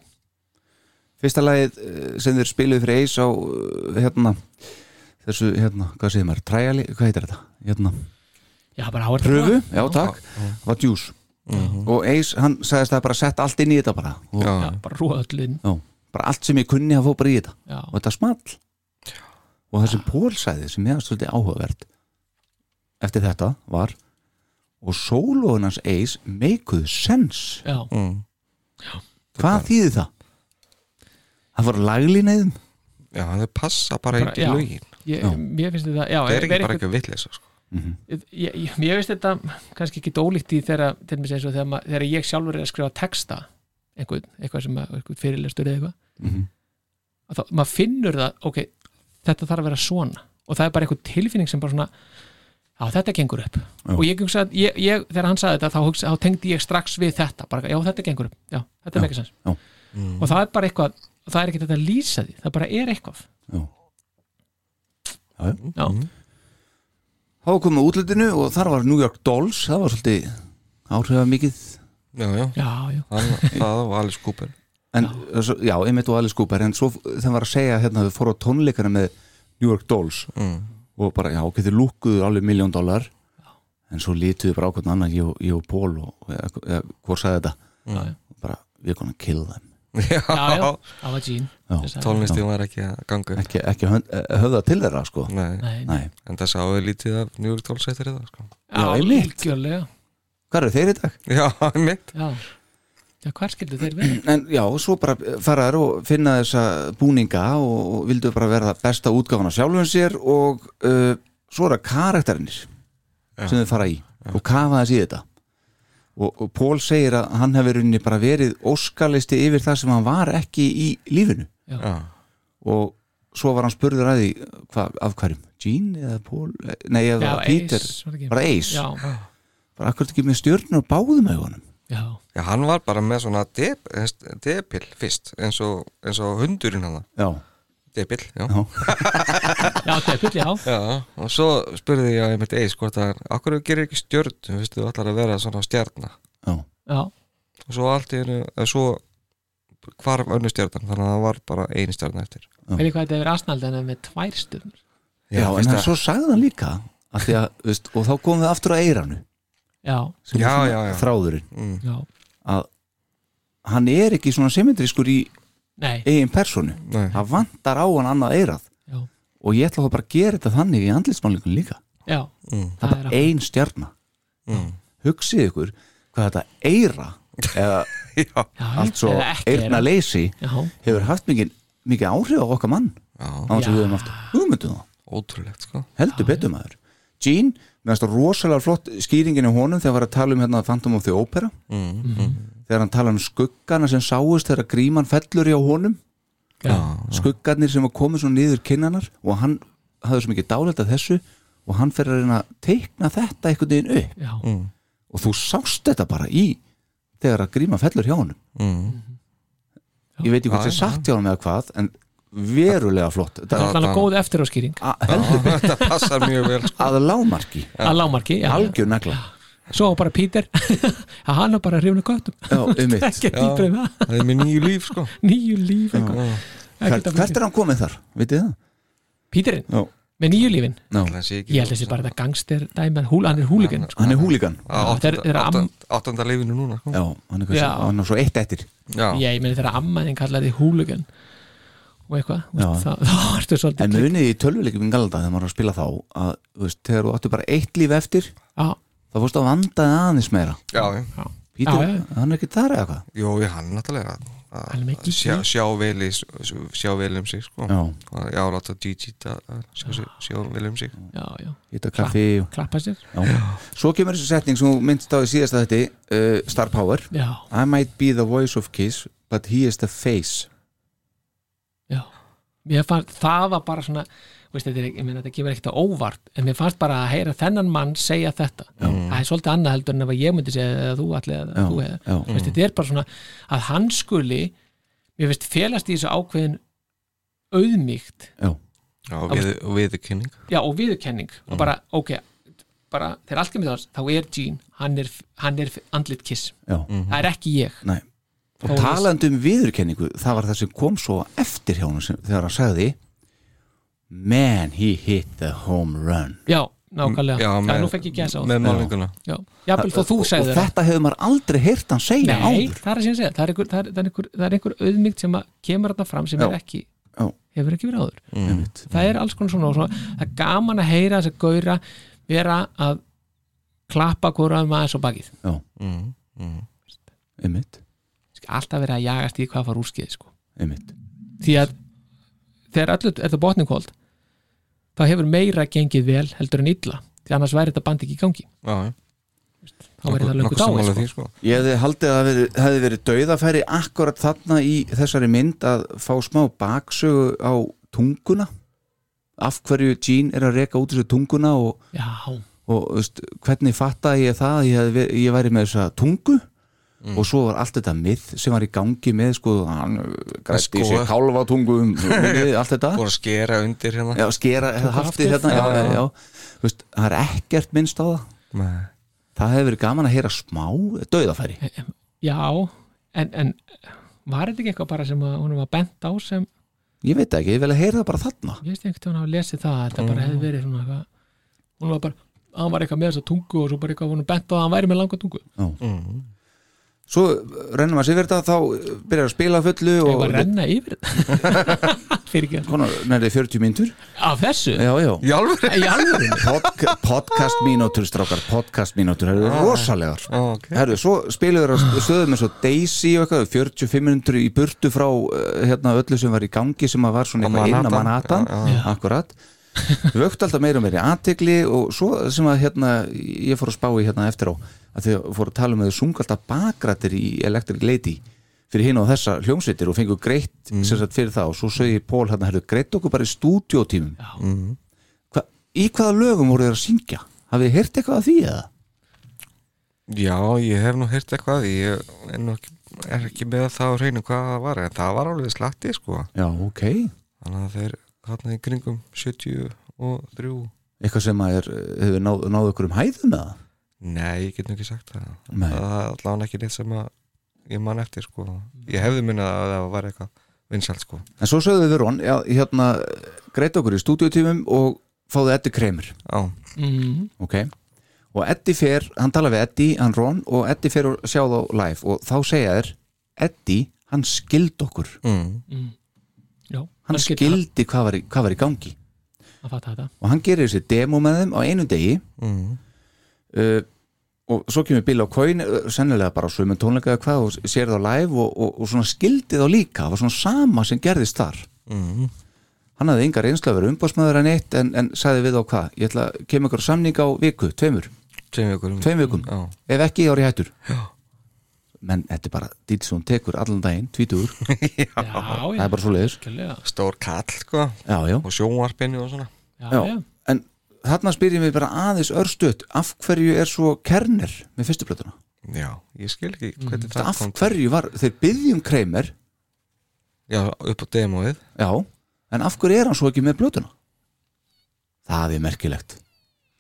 Fyrsta lagið eh, sem þeir spiluðu fyrir Ace á eh, hérna þessu, hérna, hvað segir maður, træjali hvað heitir þetta, hérna,
já, bara háar
pröfu já, Mhm. takk, var Juice og Ace, hann sagðist það bara sett allt inn í þetta bara, og,
já,
já, bara rúa öll inn
já, bara allt sem ég kunni að fó bara í þetta,
já,
og þetta small og það sem Paul sagði sem ég aðstöldið áhugavert eftir þetta var og sólóðun hans Ace meikuðu sens,
já,
mm.
hvað þýði það? Það voru laglínuðum
já þau passa bara
Bara-
ekki
já.
í lögin
ég,
Já.
mér finnst þetta já,
það er
vera
ekki bara
einhver-
ekki að vitleisa sko.
Mhm.
ég, ég, ég veist þetta kannski ekki ólíkt í þegar til mér segja svo þegar, ma- þegar ég sjálfur er að skrifa texta einhvern, eitthvað sem að- einhvern fyrirlestur eða eitthvað
Mhm.
að þá maður finnur það, ok þetta þarf að vera svona og það er bara einhver tilfinning sem bara svona já, þetta gengur upp og ég hugsa að, ég, ég, þegar hann sagði þetta þá, hugsa, þá tengdi ég strax við þetta, bara, já þetta gengur upp já, þetta er
Já,
ekki sens
já.
og það er bara eitthvað, það er ekki þetta að lýsa því það bara er eitthvað
já, já, já.
já,
Mm. Það var komið útlutinu og þar var New York Dolls það var svolítið áhrifa mikið
já, [laughs] já,
já, já,
hann, það og Alice Cooper
en, já. já, einmitt og Alice Cooper en svo þeim var að segja hérna að við fóru á tónleikana með New York Dolls
mm. [laughs]
og bara, já, ok, þið lúkkuðu alveg miljón dólar en svo lítuðu bara á hvernig annan ég, og- ég og Pól og, og eða- eða, hvort sagði þetta
já, já,
bara, við erum konar að kill them
já,
já, já. það var Jean
já,
Þess að-
tónlistin var ekki að ganga upp
ekki, ekki hönd, eh, höfða til þeirra sko
Nei,
Nei, nei.
Nei.
en það sáu við lítið af New York Dolls eftir það sko.
Já, einmitt.
Algjörlega.
hvað eru þeir í dag?
Já, [laughs] mitt
já. já hvar skildu þeir vera?
En já, svo bara fara þær og finna þessa búninga og, og vildu bara verða besta útgáfana sjálfum sér og uh, svo er það karakterinir sem þau fara í og kafa þess í þetta og, og Pól segir að hann hefur runni bara verið óskalisti yfir það sem hann var ekki í lífinu
Já,
og svo var hann spurður að því hva, af hverjum, Gene eða Pól nei, eða Peter,
Ace, var það ekki?
bara Ace
Já,
bara akkur ekki með stjörnur og báðum augunum
já,
já hann var bara með svona dep, hest- depil fyrst eins og, eins og hundurinn hann
já,
depil, já.
Já.
já, það er fullið á
já og svo spurði ég að einmitt eis hvort að, akkur gerir ekki stjörn veistu, þú ætlar að vera svona stjarna
já,
Já,
og svo allt í einu, eða svo hvarf önnu stjarnan, þannig að það var bara einu stjarnan eftir
veitir hvað þetta hefur asnald en það er með tvær stund
já en
fyrst
hann
að-
svo sagði hann líka að því að, veist, og þá komum við aftur á Eiranu
Já,
sem
Já,
er
já, já. Mm.
svona þráðurinn
já,
að hann er ekki svona semendriskur í
nei,
eigin personu
Nei.
það vantar á hann annað eirað
já,
og ég ætla þá bara að gera þetta þannig í andlitsmálingun líka
já
það er bara ein stjarna
Mm.
hugsið ykkur hvað þetta eira eða
já,
allt svo eirna
leik
leysi
Já,
hefur haft mikið, mikið áhrif á okkar mann á
já,
þess að
Já.
við höfum haft hugmyndum um það
ótrúlegt sko
heldur betur maður Gene, mér finnst það rosalega flott skýringin í honum þegar hann var að tala um hérna Phantom of the Opera
Mm,
Mm. þegar hann tala um skuggana sem sáust þegar gríman fellur í á honum
já,
skuggarnir sem var komið svo niður kinnanar og hann hafði svo mikið dálætt að þessu og hann fer að reyna að teikna þetta einhvern veginn upp
já,
og þú sást þetta bara í þegar að gríman fellur hjá honum
mm.
ég veit ekki
Já,
hvort það er
já.
satt hjá honum eða hvað en verulega flott
það er
þetta,
allan
það-
að góð eftiráskýring
að, heldur,
þetta passar mjög vel sko.
að lámarki
að lámarki, já,
algjör negla
svo á bara Peter [laughs] að hann á bara hrifna köttum
Já,
[laughs]
einmitt.
ekki
Já.
dýbrið með það,
það er mér nýju líf sko
nýju líf eitthvað.
Já.
Ekkert
Hvert,
að
hvert
flókið.
er hann komið þar, vitið þið
Peterinn,
það?
með nýju lífin
Já,
Það sé ekki-
ég held að þessi bara þetta gangster dæmi að húl, hann er húliginn sko.
hann er húlíkan
Á
Þetta er-
áttunda-
er am-
áttunda- áttunda lífinu núna sko.
Já, hann er, hvað,
Já.
hann er svo eitt eftir
já,
já, ég meni þegar ammaðin kallaði húliginn og eitthvað, þú
Já.
veist, þá [laughs] þá ertu
En
svolítið
munið í tölvuleikum í galda þegar maður er að spila þá að, þú veist, þegar þú áttu bara eitt líf eftir
Já,
þá fórstu að vanda aðeins meira
já, já.
já.
Pítur,
Já, já.
hann er ekki þar eða hvað
Jó, ég hann náttúrulega að- að-
Hann er með
að
GG.
sjá, sjá, vel í, sjá vel um sig sko.
Já,
Og- Já, láta GG að- að sjá, sig- sjá vel um sig
já, já,
hitta kaffi og,
klappa sér
já. Svo kemur þessi setning sem þú myndst á í síðasta þetta uh, Star Power
já,
I might be the voice of Kiss but he is the face
já Mér fannst, það var bara svona þú veist, þetta, er, ekki- ég meina, þetta gefur ekkert á óvart en mér fannst bara að heyra þennan mann segja þetta
Mm.
það er svolítið annað heldur en ef að ég myndi segja það eða þú allir eða þú eða
Mm. já. Mm.
Þú veist, þetta er bara svona að hann skuli mér veist félast í þessu ákveðin auðmíkt
Já, og við, og viðurkenning
já, og viðurkenning
Mm.
og bara, ok, bara þegar allt kemur þess, þá er Gene hann er, hann er andlit kiss
Já.
það er ekki ég
Nei.
Þá
Og
er-
talandi um viðurkenningu það var það sem kom svo eftir hjá hann sem, þegar hann sagði Man, he hit the home run
já, nákvæmlega,
Já,
já,
með-
nú fekk ég gæsa á
Með málinguna
já, jafnvel þó þú
Og-
segði
Og þetta hefur maður aldrei heyrt hann segja
Nei,
áður
það er að sé að segja, það er einhver, það er, það er einhver, það er einhver auðmygt sem að kemur þarna fram sem
Já.
er ekki
Já.
hefur ekki verið áður
mm.
það er alls konar svona, og svona það er gaman að heyra þess að gauðra vera að klappa hvoraðum aðeins á bakið
Mm. Mm.
Einmitt,
Skal alltaf verið að jagast í hvað fara úrskeið sko.
einmitt
því að þegar öllu er það botningkóld þá hefur meira gengið vel heldur en illa því annars væri þetta band ekki í gangi
Já, já.
þá væri það löngu
Nokkuð sammála
dáið
því,
sko.
sko.
Ég hefði haldið að veri, hefði verið dauðafæri akkurat þarna í þessari mynd að fá smá baksögu á tunguna af hverju Gene er að reka út þessu tunguna og,
sko.
já,
og þú veist, hvernig fatta ég það að ég, hefði verið, ég væri með þessa tungu og svo var allt þetta mið sem var í gangi með sko, hann grætti
Sko.
sér kálfa tungum um allt þetta
Búin að skera undir hérna
já, skera, hefði haft því
aftur.
hérna já,
Já,
já,
já.
já. Þú Veist, það er ekkert minnst á það
Nei.
það hefði verið gaman að heyra smá dauðafæri
já en, en var þetta ekki eitthvað bara sem að, hún var bent á sem
ég veit það ekki, ég vil að heyra það bara þarna
ég veist einhvern veginn að lesið það að þetta bara
Mm.
hefði verið svona eitthvað hún var bara, hann var eitthvað með þessa tungu og svo bara eitthvað, hún bent á að hann væri með langa tungu
svo uh, rennum maður sér þetta þá uh, byrjar að spila á fullu
eitthvað að
og
renna yfir
[laughs]
fyrir ekki hann.
konar nærið 40 mínútur
af þessu,
já, já
Í alveg?
í alveg
Podca podcast mínútur strákar, podcast mínútur það eru rosalegar
ok.
Herru, svo spiluður að stöðum eins og Daisy og eitthvað, 45 minnundur í burtu frá uh, hérna öllu sem var í gangi sem að var svona
Á
eitthvað inn á
Manhattan.
Manhattan akkurat vökt alltaf meira og meira aðtegli og svo sem að hérna, ég fór að spá í hérna eftir á að þið fór að tala um að þau sunga alltaf bakrættir í Electric Lady fyrir hinn og þessa hljómsveitir og fengu greitt sem sagt fyrir það og svo sögði Pól hérna, herru, greitt okkur bara í stúdiótímum
Mm.
Hva, í hvaða lögum voru þeir að syngja? hafið þið heyrt eitthvað af því eða?
Já, ég hef nú heyrt eitthvað Ég er, nú ekki, er ekki með það á hreinu hvað það var En það var alveg slatti sko
já, ok
Þannig að þeir þarna í kringum 73
eitthvað sem að er, eh, hefur náð, náð okkur um hæðum eða?
Nei, ég get nú ekki sagt það
Nei.
Það er allan ekki neitt sem að ég man eftir sko Ég hefði munið að það var eitthvað vinsælt sko
en svo sögðu við Ron, já, hérna greitt okkur í stúdiótímum og fáðu eddu kremur
Já,
mm,
ok og Eddie fer, hann talar við Eddie, hann Ron og Eddie fer og sjá þá live og þá segja þér, Eddie, hann skild okkur
mm.
já,
hann
skil-
skildi hvað var, í- hvað var í gangi
hann- hann fatta þetta,
og hann gerir þessi demo með þeim á einu degi
Mm.
uh, og svo kemur Bill á Coyne uh, sennilega bara á sömu tónleika eða hvað og sér þá live og, og, og svona skildi þá líka það var svona sama sem gerðist þar
Mm.
hann hafði engar einslega verið umbásmaður en eitt en, en sagði við á hvað, ég ætla að kemur ykkur á samning á viku, tveimur,
Tveim vikum
tveim vikum
Já,
ef ekki ég ári hættur
Já.
menn þetta er bara dýtt sem hún tekur allan daginn, tvítur, það
já, já,
er bara svo leiðis
skilja
stór kall sko
já, já.
Og sjónvarpinni og svona
já,
Já.
já,
en þarna spyr ég mig bara aðeins örstuðt af hverju er svo kernir með fyrstu plötuna,
Já, ég skil ekki hvernig
Þetta
það
af hverju var þeir um byggjum kreimer,
Já, upp á demóið
já en af hverju er hann svo ekki með plötuna það er merkilegt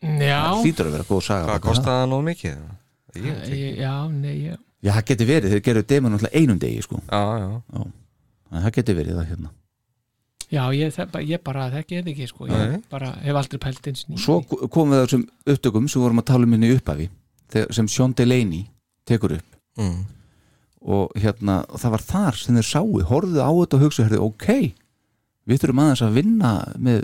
Já,
hlýtur að vera góð saga
Hvað
bak við það.
kostaði það nóg mikið? Ég veit ekki.
ég, já, nei, já
Já, það getur verið, þeir gerðu demon náttúrulega einum degi sko.
Já, já,
en það getur verið það hérna
Já, ég, þe- ba- ég bara þekki þetta ekki sko. ég
Nei.
bara hef aldrei pælt eins
Svo ko- komum við að þessum upptökum sem við vorum að tala um minni upphafi þegar- sem Sean Delaney tekur upp
mm.
og hérna, og það var þar sem þeir sáu horfðu á þetta og hugsa, herðu, ok við þurfum aðeins að vinna með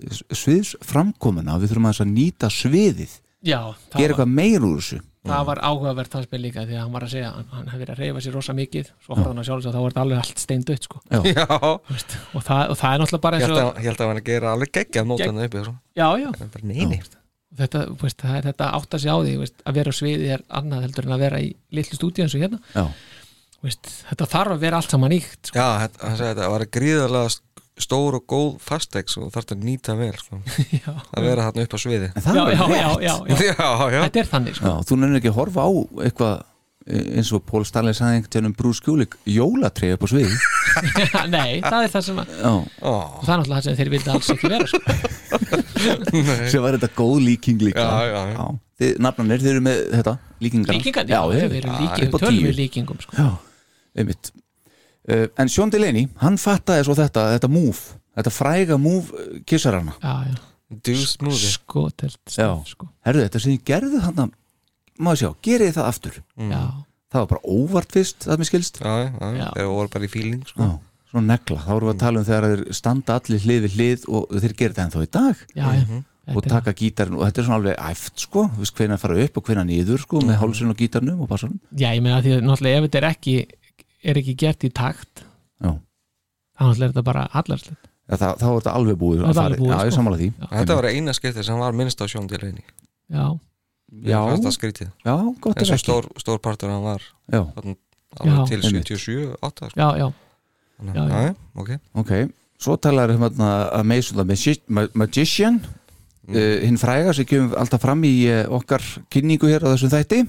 sviðsframkomuna við þurfum aðeins að nýta sviðið
Já,
gera
það var,
eitthvað meir úr þessu
það var áhugavert það spil líka því að hann var að segja, hann, hann hefði verið að reyfa sér rosa mikið svo horfði hann á sjálfsög og þá var þetta alveg allt steindautt sko.
já.
Þú veist, og, það, og það er náttúrulega bara
Ég
eins
held
og
að, ég held að hann gera alveg geggjað mótana uppi og svo.
Já, já,
En bara neini
þetta, þú veist, það er þetta átt að sé á því þú veist, að vera á sviði er annað heldur en að vera í litlu stúdíu eins og hérna
Já.
Þú veist, þetta þarf að vera allt saman íkt sko. [laughs]
Já, þetta- hann sagði þetta, það var gríðarlega st- stór og góð fastex og þarf að nýta vel sko.
já,
að vera þarna upp á sviði
en það
já,
var
já,
rétt
já, já, já.
Já, já,
þetta er þannig sko.
Já, þú nefnir ekki að horfa á eitthvað e- eins og Pól Stanley sagði einhvern veginn um Brú Skjúlik jólatreyja upp á sviði
[laughs] nei, það er það sem að,
Já,
Ó,
og það er náttúrulega það sem þeir vildi alls ekki vera sko.
sem var þetta góð líking líka
Já, já, já.
Þið, nafnarnir, þið eru með þetta, líkingar
líkingar,
já,
já,
já,
við erum
já,
líking,
upp á
við tölum
tíu.
við líkingum sko.
Já, einmitt uh, En Sean Delaney, hann fattaði svo þetta þetta move, þetta fræga move eh, kissaranna
já, já,
deuce movie
skotelt
Já.
stöf, sko.
Herðu þetta sem ég gerði þarna maður sjá, gerið þið það aftur
já,
Það var bara óvart fyrst, að mér skilst
Já, já, já,
Já.
þeir voru bara í feeling sko.
Já, svona negla, þá vorum við að tala um þegar þeir standa allir hlið við hlið og þeir gerði það ennþá í dag
já, já. Þetta
Mhm. og
er-
taka gítarinn og þetta er svona alveg æft sko, þú veist hvernig að fara upp og hvernig að niður sko, með hálsinn og gítarnum og bassanum
já, ég meina að því að náttúrulega ef þetta er ekki er ekki gert í takt
Já,
þá náttúrulega er þetta bara hallarslegt
Ja, það, þá er þetta alveg búið
Það er
að
alveg
fara-
búið,
Já, ég
sko.
sammála því
Þetta var eina skiptið sem var minnst á sjóndileginni
já,
Já,
Fasta skrítið
já, gott
En
er
svo
ekki
stór, stór partur hann var
Já,
alveg
Já.
til
Einmitt.
77, 8 sko.
já, já,
Þannig
Já,
að-
já.
já, já, ok [laughs]
ok Svo talar um hérna að Mason the Magi- Ma- Magician uh, hinn fræga sem kemur alltaf fram í uh, okkar kynningu hér á þessum þætti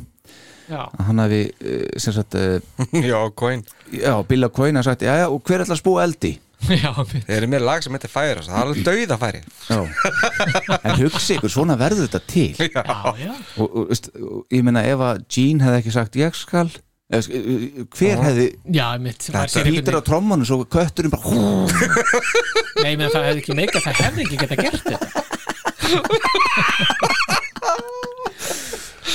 já.
Að hann hafi, uh, sem sagt uh,
Já, coin
já, Billa Coyne hafi sagt, já, já, og hver ætla að spú eldi?
[laughs] já, mitt.
Þeir eru með lag sem heitir færi Það er alveg dauðafæri
Já [laughs] En hugsi ykkur, svona verður þetta til
já, já,
og, og, veist, og ég meina ef að Gene hefði ekki sagt ég skal eða, sk- eh, hver hefði
já, mitt Maður sér
hvítur á
einhvern
trommunum svo kötturinn bara hú,
veginn- nei, menn það hefði ekki meika það hefði ekki geta gert þetta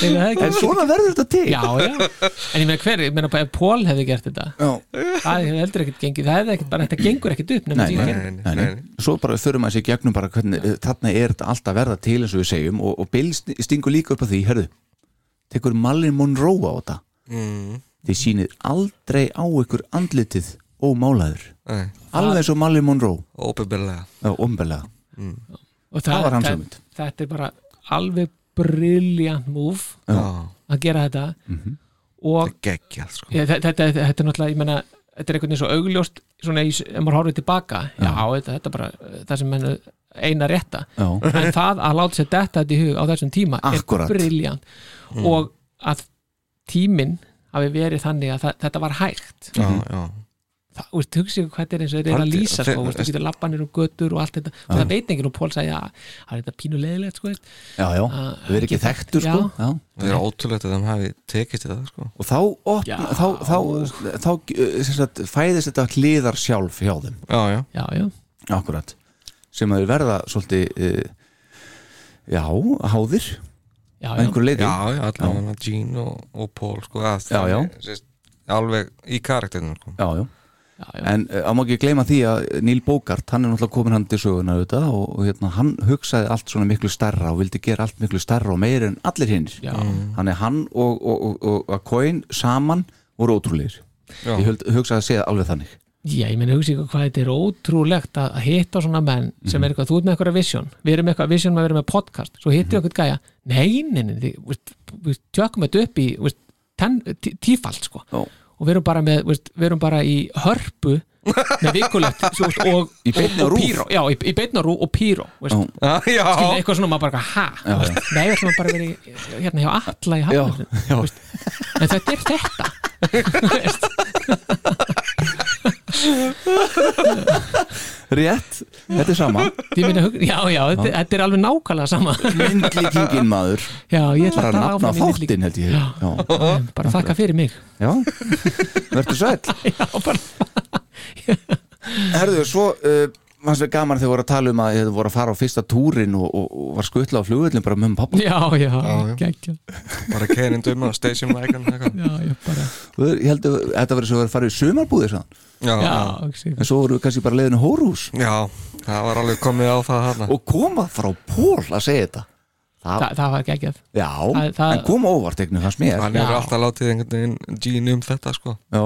Nei, það hefði
en
ekki
[laughs] svona verður þetta til
Já, já, en ég meina hver, ég meina bara ef Pól hefði gert þetta
Já.
það hefði heldur ekkert gengið, það hefði ekkert bara, þetta gengur ekkert upp nema
Nei,
Gene
nei,
gerir.
Nei, nei. svo bara förum að sér gegnum bara hvernig, eh, þarna er þetta alltaf verða til eins og við segjum og, og Bill sti- stingur líka upp á því herðu, tekur Malin Monroe á þetta
Mm,
þið sýnið aldrei á ykkur andlitið ómálaður,
nei,
alveg eins og Malin Monroe
Óbyrbilega
já, ombelega,
og
Það var hans
það-
hugmynd.
þetta er bara alveg brilliant move
Já,
að gera þetta
Mhm.
og
geggjað sko.
ég, þetta, þetta, þetta er náttúrulega, ég menna þetta er einhvern veginn svo augljóst svona í, ef maður horfið tilbaka, já, þetta, þetta er bara eh, það sem menn eina rétta
já,
en það að láta sér detta þetta í hug á þessum tíma
Akkúrat. Mm.
er brilliant og að tíminn hafi verið þannig að það, þetta var hægt
Já, já
það, þú veist, hugsa ykkur hvað þetta er eins og þeir eru að
Haldi-
lýsa sko,
þeir-
þú veist, þú getur labbanir og götur og allt þetta og það veit enginn og Pól sagði að það er þetta pínu leiðilegt sko,
já, já við
Ah,
erum ekki
ekki-
þekktur sko já.
Það er ótrúlegt að þeim hafi tekist þetta sko.
og þá, opna,
Já.
þá, þá, þá, þá sagt, fæðist þetta hliðar sjálf hjá þeim
Já, já
já, já,
akkurat, sem að þeir verða svolítið uh, já, háðir
já,
að
já.
einhverju leiði
Já, já, allavega Gene og, og Paul sko, að,
Já, já.
Sérst, Alveg í karakterinu sko.
já, já.
já, já.
en eh, að má ekki gleyma því að Neil Bogart, hann er náttúrulega komin hann til söguna auðvitað og, og hérna, hann hugsaði allt svona miklu starra og vildi gera allt miklu starra og meir en allir hinnir
Já.
hann er hann og, og, og, og að Coyne saman voru ótrúleir
Já.
ég huld, hugsaði að segja alveg þannig
Já, ég meina hugsa ykkur hvað þetta er ótrúlegt að að hitta svona menn
Mhm.
sem er eitthvað, þú ert með eitthvað vision, við erum með eitthvað vision maður verið með podcast, svo hittir
Mhm.
okkur gæja nei, nei, nei, þið- veist, við tjökkum þetta upp í veist, ten, tí, tífald sko,
Já.
og við erum bara með veist, við erum bara í hörpu
[laughs]
með vikulegt svo, veist, og,
Í beinni á
og, og
RÚV.
píró, já, í, í beinni á rú og píró veist,
Já.
Já, já
skilja eitthvað svona maður bara eitthvað, ha,
Já,
Þú veist, nei, við ætlum að bara verið hérna hjá alla í hafnum
[laughs] já.
en þetta er þetta Þú veist.
rétt, þetta er sama
Ég meina, hug- já, já, þetta, þetta er alveg nákvæmlega sama
myndlíkingin maður
Já, ég ætla
bara að
að draga
nafna
áfram í myndlík
þáttinn held ég
Já.
já,
Bara þakka fyrir mig
já. verður sæll
[laughs] Já, bara
Herðu, svo uh, fannst við gaman þegar voru að tala um að þið voru að fara á fyrsta túrin og, og, og var skutla á flugvöllin bara með um pappa
Já, já,
já.
geggja
bara keirin döma, station wagon eitthvað.
Já, já, bara
og þeir- ég held að þetta verið svo að vera að fara í sumarbúði sann.
já,
Já,
já.
sí.
en svo voru við kannski bara leiðinu hórús
já, það var alveg komið á það hana
og koma frá Pól að segja þetta
Þa, það var geggjað
já,
Það- það-
en koma óvart einhvern fannst mér
hann hefur
Já.
alltaf látið einhvern veginn Gene um þetta sko
já,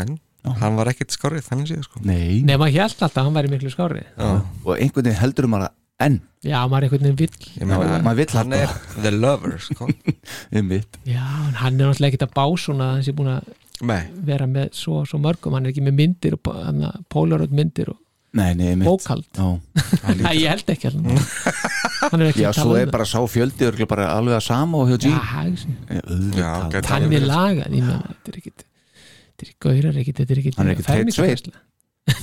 en hann var ekkert skárið þannig séð sko
nei
Nei, maður held alltaf að hann væri miklu skári
já,
og einhvern veginn heldur um hana enn
Já, maður einhvern veginn vill
ég
Já,
meina,
maður vill
hann
halda
er the lover sko
um mitt
Já, en hann er náttúrulega ekkert að básuna að hann sé búin að
nei,
vera með svo, svo mörgum hann er ekki með myndir og hana, polaroid myndir og
nei, nei, um mitt
bókald
já.
Nei, ég held ekki allan Hann er ekki
Mm. já,
að
svo
tala
er
um
bara sá fjöldi örugglega bara alveg að sama og hjá
það. Já,
Gene
hægst
Já, auðvitað.
Já, gæti
Það
Þannig
verið.
lagað, ég meina, þetta er ekkit Þetta er ekki gaurar ekkit, þetta er ekkit
Hann er ekkit Tate Sveit.
fermingarveisla.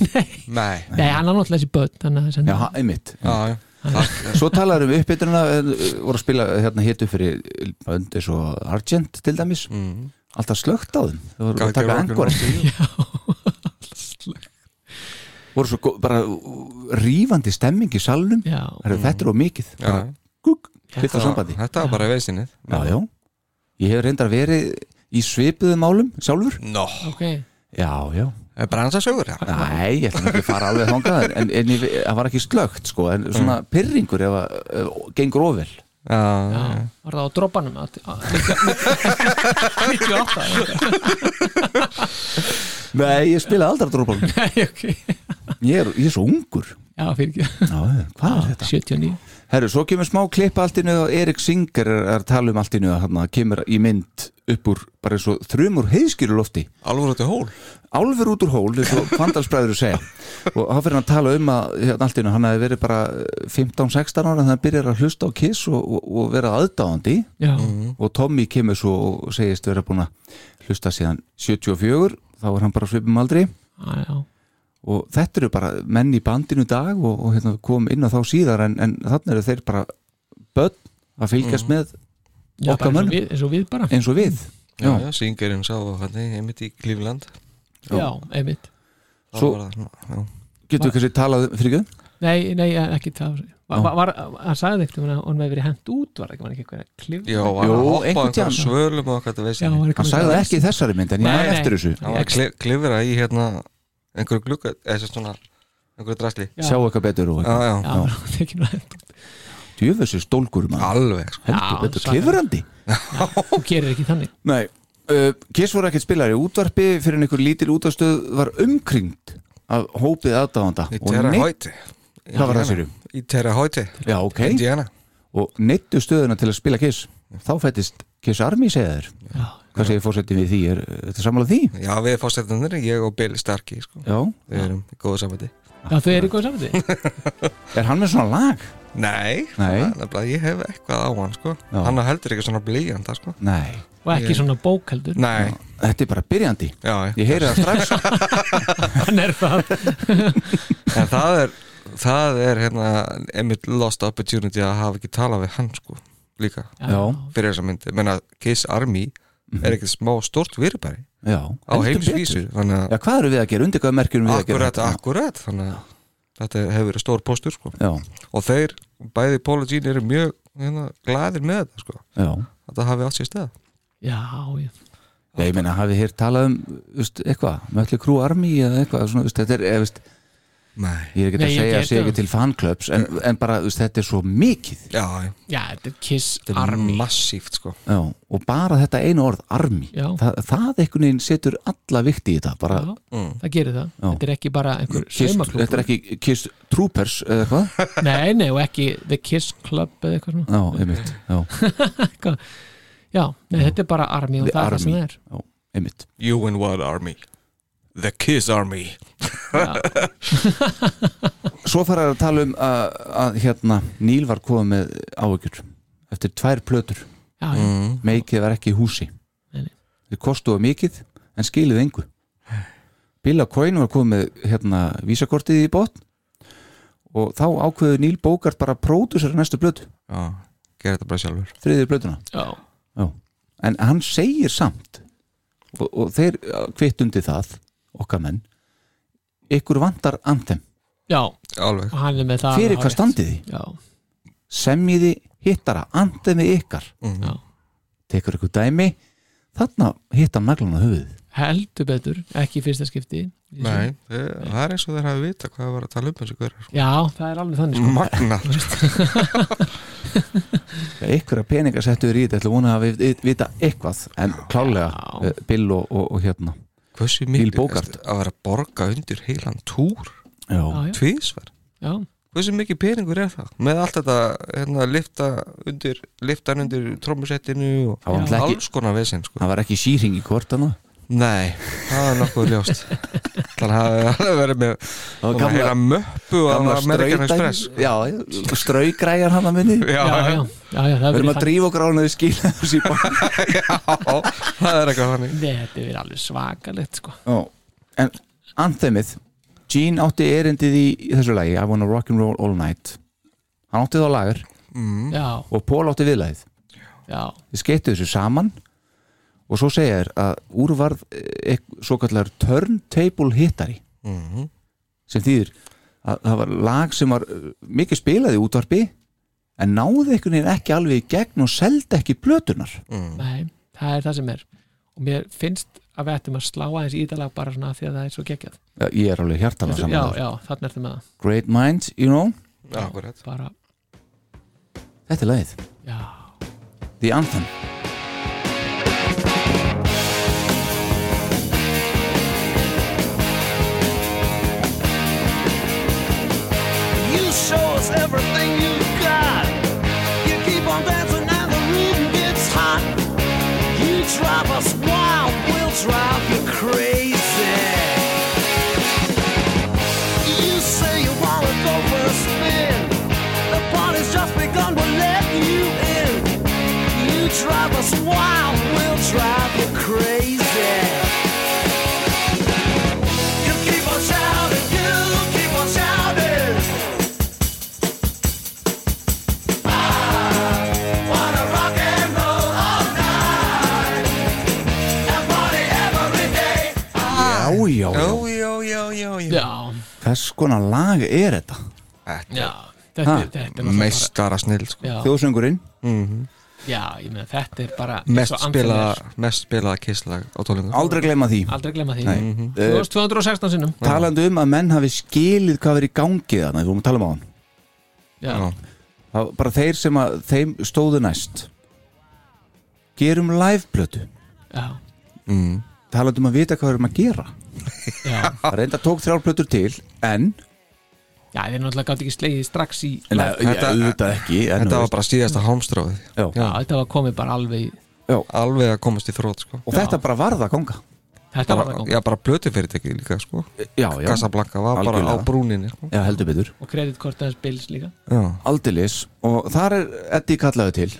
nei
Nei, hann á náttúrulega þessi börn Þannig að
Já,
hann
ha- einmitt
já, já, það
Svo talaður um uppbytuna voru að spila hérna hétu fyrir bönd eins og Argent til dæmis
mm,
alltaf slögt á þeim þau voru
Gat
að taka
ekki
engor
rock'n'roll.
voru svo gó- bara uh, rífandi stemming í salnum
Já,
Heru, þetta er of mikið
já,
Bara gúgg, klift á
já.
sambandi
þetta var bara veisinnið
já, já. ég hef reyndar verið í svipuðum málum sjálfur
no,
ok
já, já,
bransasögur já,
nei, ég ætla nú ekki að fara alveg þangað en, en ég, það var ekki slögt sko, en svona pyrringur ef að ef gengur ofvel
já,
Já, var það á droppanum á- á- 98
nei, ég spilaði aldrei drópum
Nei, ok
ég er, ég er svo ungur
Já, fyrir ekki
já, hvað er þetta?
79
Herru, svo kemur smá klippa allt innu og Erik Singer er er að tala um allt innu að hann kemur í mynd upp úr bara eins og þrumur heiðskýru lofti
alveg út í hól
álfur út úr hól, eins og fandalsbræður segja og hann fyrir hann að tala um að hérna, allt innu hann hefði verið bara eh, 15-16 ára þannig að hann byrjar að hlusta á Kiss og, og, og vera aðdáandi
Já,
og Tommy kemur svo og segist vera búin að hlusta síðan 74 þá er hann bara á svipum aldri
já, já
og þetta eru bara menn í bandinu í dag og, og hérna, kom inn á þá síðar en, en þannig eru þeir bara börn að fylgjast
Já,
Okkar
bara
mönnum.
eins og við- eins og við bara
með eins og við
já, já, syngurinn sá hann einmitt í Cleveland
Já, einmitt
Þá
Svo-
var það- já.
getur við kannski talað um- fyrir göð?
Nei, nei, ekki það var, var, var, Hann sagði eitthvað að hann hefði verið hent út Var ekki, var ekki eitthvað að klifja
já, var
Jú,
að hoppa
einhvern
einhver
tímann.
svölum og hvað það
já var
veisinnið
hann sagði það ekki í þessari mynd en ég
Nei,
man
nei.
eftir þessu
hann var að kli- klifra í hérna einhverju glugga, eða sem svona einhverju drasli
Já.
sjá eitthvað betur og
já, já,
Já,
Já.
var ekki nú hent
djöfessu stólgur maður
alveg sko.
heldur
Já,
betur
sagði-
klifurandi
Þú gerir ekki þannig
nei Uh, Kiss voru ekkert spilar í útvarpi fyrir en einhver lítil útvarstöð var umkringd af hópið aðdáðanda
í
og
Terra
neitt,
Hóti
Hvað var það, segirðu?
í Terra Hóti,
já, okay.
Indiana
og neittu stöðuna til að spila Kiss þá fættist Kiss Army segja þér
Já.
hvað segir fórsetin við því, er uh, þetta sammála því?
já, við fórstættanir, ég og Bill Starkey sko.
Já,
við erum í góðu samvæti
Já, þau eru í góð samviti
er hann með svona lag?
nei,
Nei.
það er nefnilega að ég hef eitthvað á hann sko.
Já.
hann á heldur ekki svona blíjanda sko.
Nei,
Og ekki svona bókaldur
nei,
þetta er bara byrjandi
já, já.
Ég heyri það strax
Hann er það
[laughs] en það er það er hérna einmitt lost opportunity að hafa ekki talað við hann sko, líka
Já.
fyrir þessa myndi, menna Kiss Army er ekkert smá stort virðbæri
Já,
á
Mhm. heldur
heimsvísu,
betur.
þannig að
Já, hvað eru við að gera? Undir hvað merkjum við að gera?
Akkurat, akkurat Þannig að þetta hefur verið stór postur sko.
Já,
Og þeir, bæði Paul og Gene eru mjög hérna, gladir með þetta sko.
já
Að Þetta hafi átt sér stað
Já, já
Já, Ég meina, hafið hér talað um, veist, eitthvað Möllu krú armi eða eitthvað svona, veist, Þetta er, eða, veist,
Nei
ég er ekki
Nei,
að
ég
segja
get
sig
það.
ekki til fanklöps en, en bara, veist, þetta er svo mikið
Já, já,
Já, þetta er Kiss
þetta er
Army
massíft sko.
Já, og bara þetta einu orð, armi
Já.
Þa, Það einhvern veginn setur alla vikti í þetta bara,
Já,
Mm.
það gerir það
Já.
Þetta er ekki bara einhver
Kiss,
saumaklúbbur.
þetta er ekki Kiss Troopers eða eitthvað
Nei, nei, og ekki The Kiss Club eða eitthvað svona
Já, einmitt, já,
Já, nei, þetta er bara Army og
The
það er það sem
Army.
það er
já, einmitt
You and what army? The Kiss Army
Svo fara að tala um að, að hérna, Níl var komið með áhyggjur eftir tvær plötur,
Já,
Mm.
já,
Mm.
meikið var ekki í húsi
Nei, nei.
þeir kostuðu mikið en skiluðu engu Bill og Coyne var komið með hérna, vísakortið í botn og þá ákveðu Níl Bókart bara pródusera næstu blötu,
já, gera þetta bara sjálfur
þriðið blötuna
já,
en hann segir samt og, og þeir kvittundi það okkar menn ykkur vantar anthem
já,
alveg,
og hann er með það
fyrir hvað
hárrétt.
standið þið,
já,
semjiði hittara anthemi ykkar,
Mm.
já,
tekur ykkur dæmi þarna hittar naglan á höfuð
heldur betur ekki í fyrsta skipti í þessu.
nei, þið- það er eins og þeir hafi vita hvað það var að tala um þessu hverjar
já, það er alveg
Mm.
þannig sko.
magna,
ykkur að peninga settu þér í þetta ætla að vona að við við- vita eitthvað en klálega
Já.
eh, Bill og, og, og hérna
[laughs] hversu
Neil
mikið
Bogart.
ertu að vera að borga undir heilan túr,
já,
já, já,
tvísvar
já,
hversu mikið peningur er það með allt þetta, hérna, lifta undir, liftan undir trómusettinu og
það var náttúrulega ekki
alls konar vesinn sko.
það var ekki síring í kortana
nei, það er nokkuð ljóst þannig að það verið með
það var
Gamla,
gamla,
heila möppu af
gamla
American
straudæmi.
Express
já, já, straugræjar hann að minni
já,
já,
já,
já, já, já það
við erum að
verið
drífa okkur á hann að við skila þessi
það er eitthvað þannig
Nei, þetta er alveg svakalegt sko.
en anthemið Gene átti erindið í í þessu lagi I wanna rock and roll all night hann átti þá lagar
mm.
já,
og Paul átti viðlagið
já,
þið skeyttu þessu saman og svo segja þér að úrvarð eh, svo kallar turntable hittari
Mm.
sem þýðir að það var lag sem var eh, mikið spilaði í útvarpi en náði einhvern veginn ekki alveg í gegn og seldi ekki plötunar
Mm.
nei, það er það sem er og mér finnst að við ættum að slá aðeins ídalag bara svona af því að það er svo geggjað
Já, ég er alveg hjartan að
Þetta- já,
saman
já, þarna ertu með það
Great Minds, you know,
akkurat
bara,
þetta er lagið
já,
The Anthem
You show us everything you've got. You keep on dancing and the room gets hot. You drive us wild, we'll drive you crazy. You say you wanna go for a spin. The party's just begun, we'll let you in. You drive us wild, we'll drive you crazy. You keep on shouting, you keep on shouting. Wanna rock and roll all night and party every day.
Já, já, já,
Jó, já, já, já, já
já,
hvers konar lag er þetta?
já þetta,
Ha,
er- þetta er náttúrulega
mestara snill sko. Mhm.
bara, já,
Þjóðsöngurinn
já, ég meina þetta er bara
mest
eins og anthem
spilaða
er.
mest spilaða kisslag á tólingu
Aldrei gleyma því
aldrei glemma því
Nei. Eh,
2216 sinnum
Talandi um að menn hafi skilið hvað verið í gangi þarna, við vorum að tala um á hann
já,
Já.
Það var bara þeir sem að þeim stóðu næst gerum liveblötu
já,
mm.
talandi um að vita hvað við erum að gera
já,
það reynda tók þrjárblötur til en,
já þeir náttúrulega gátt ekki slegið strax í
en
já,
ég
Þetta-
auðvitað ekki en,
þetta
þú
var bara síðasta hámstráði
veist, já.
þetta var komið bara alveg í-
alveg að komast í þrótt sko.
og þetta bara varð að ganga
þetta var
bara,
það komið
já, bara blötu fyrirtæki líka sko.
E, já, já,
Casablanca var bara á
Algjörlega.
brúninni sko.
já heldur betur
og kreditkortaðans bils líka
já,
aldilis og þar er Eddi kallaði til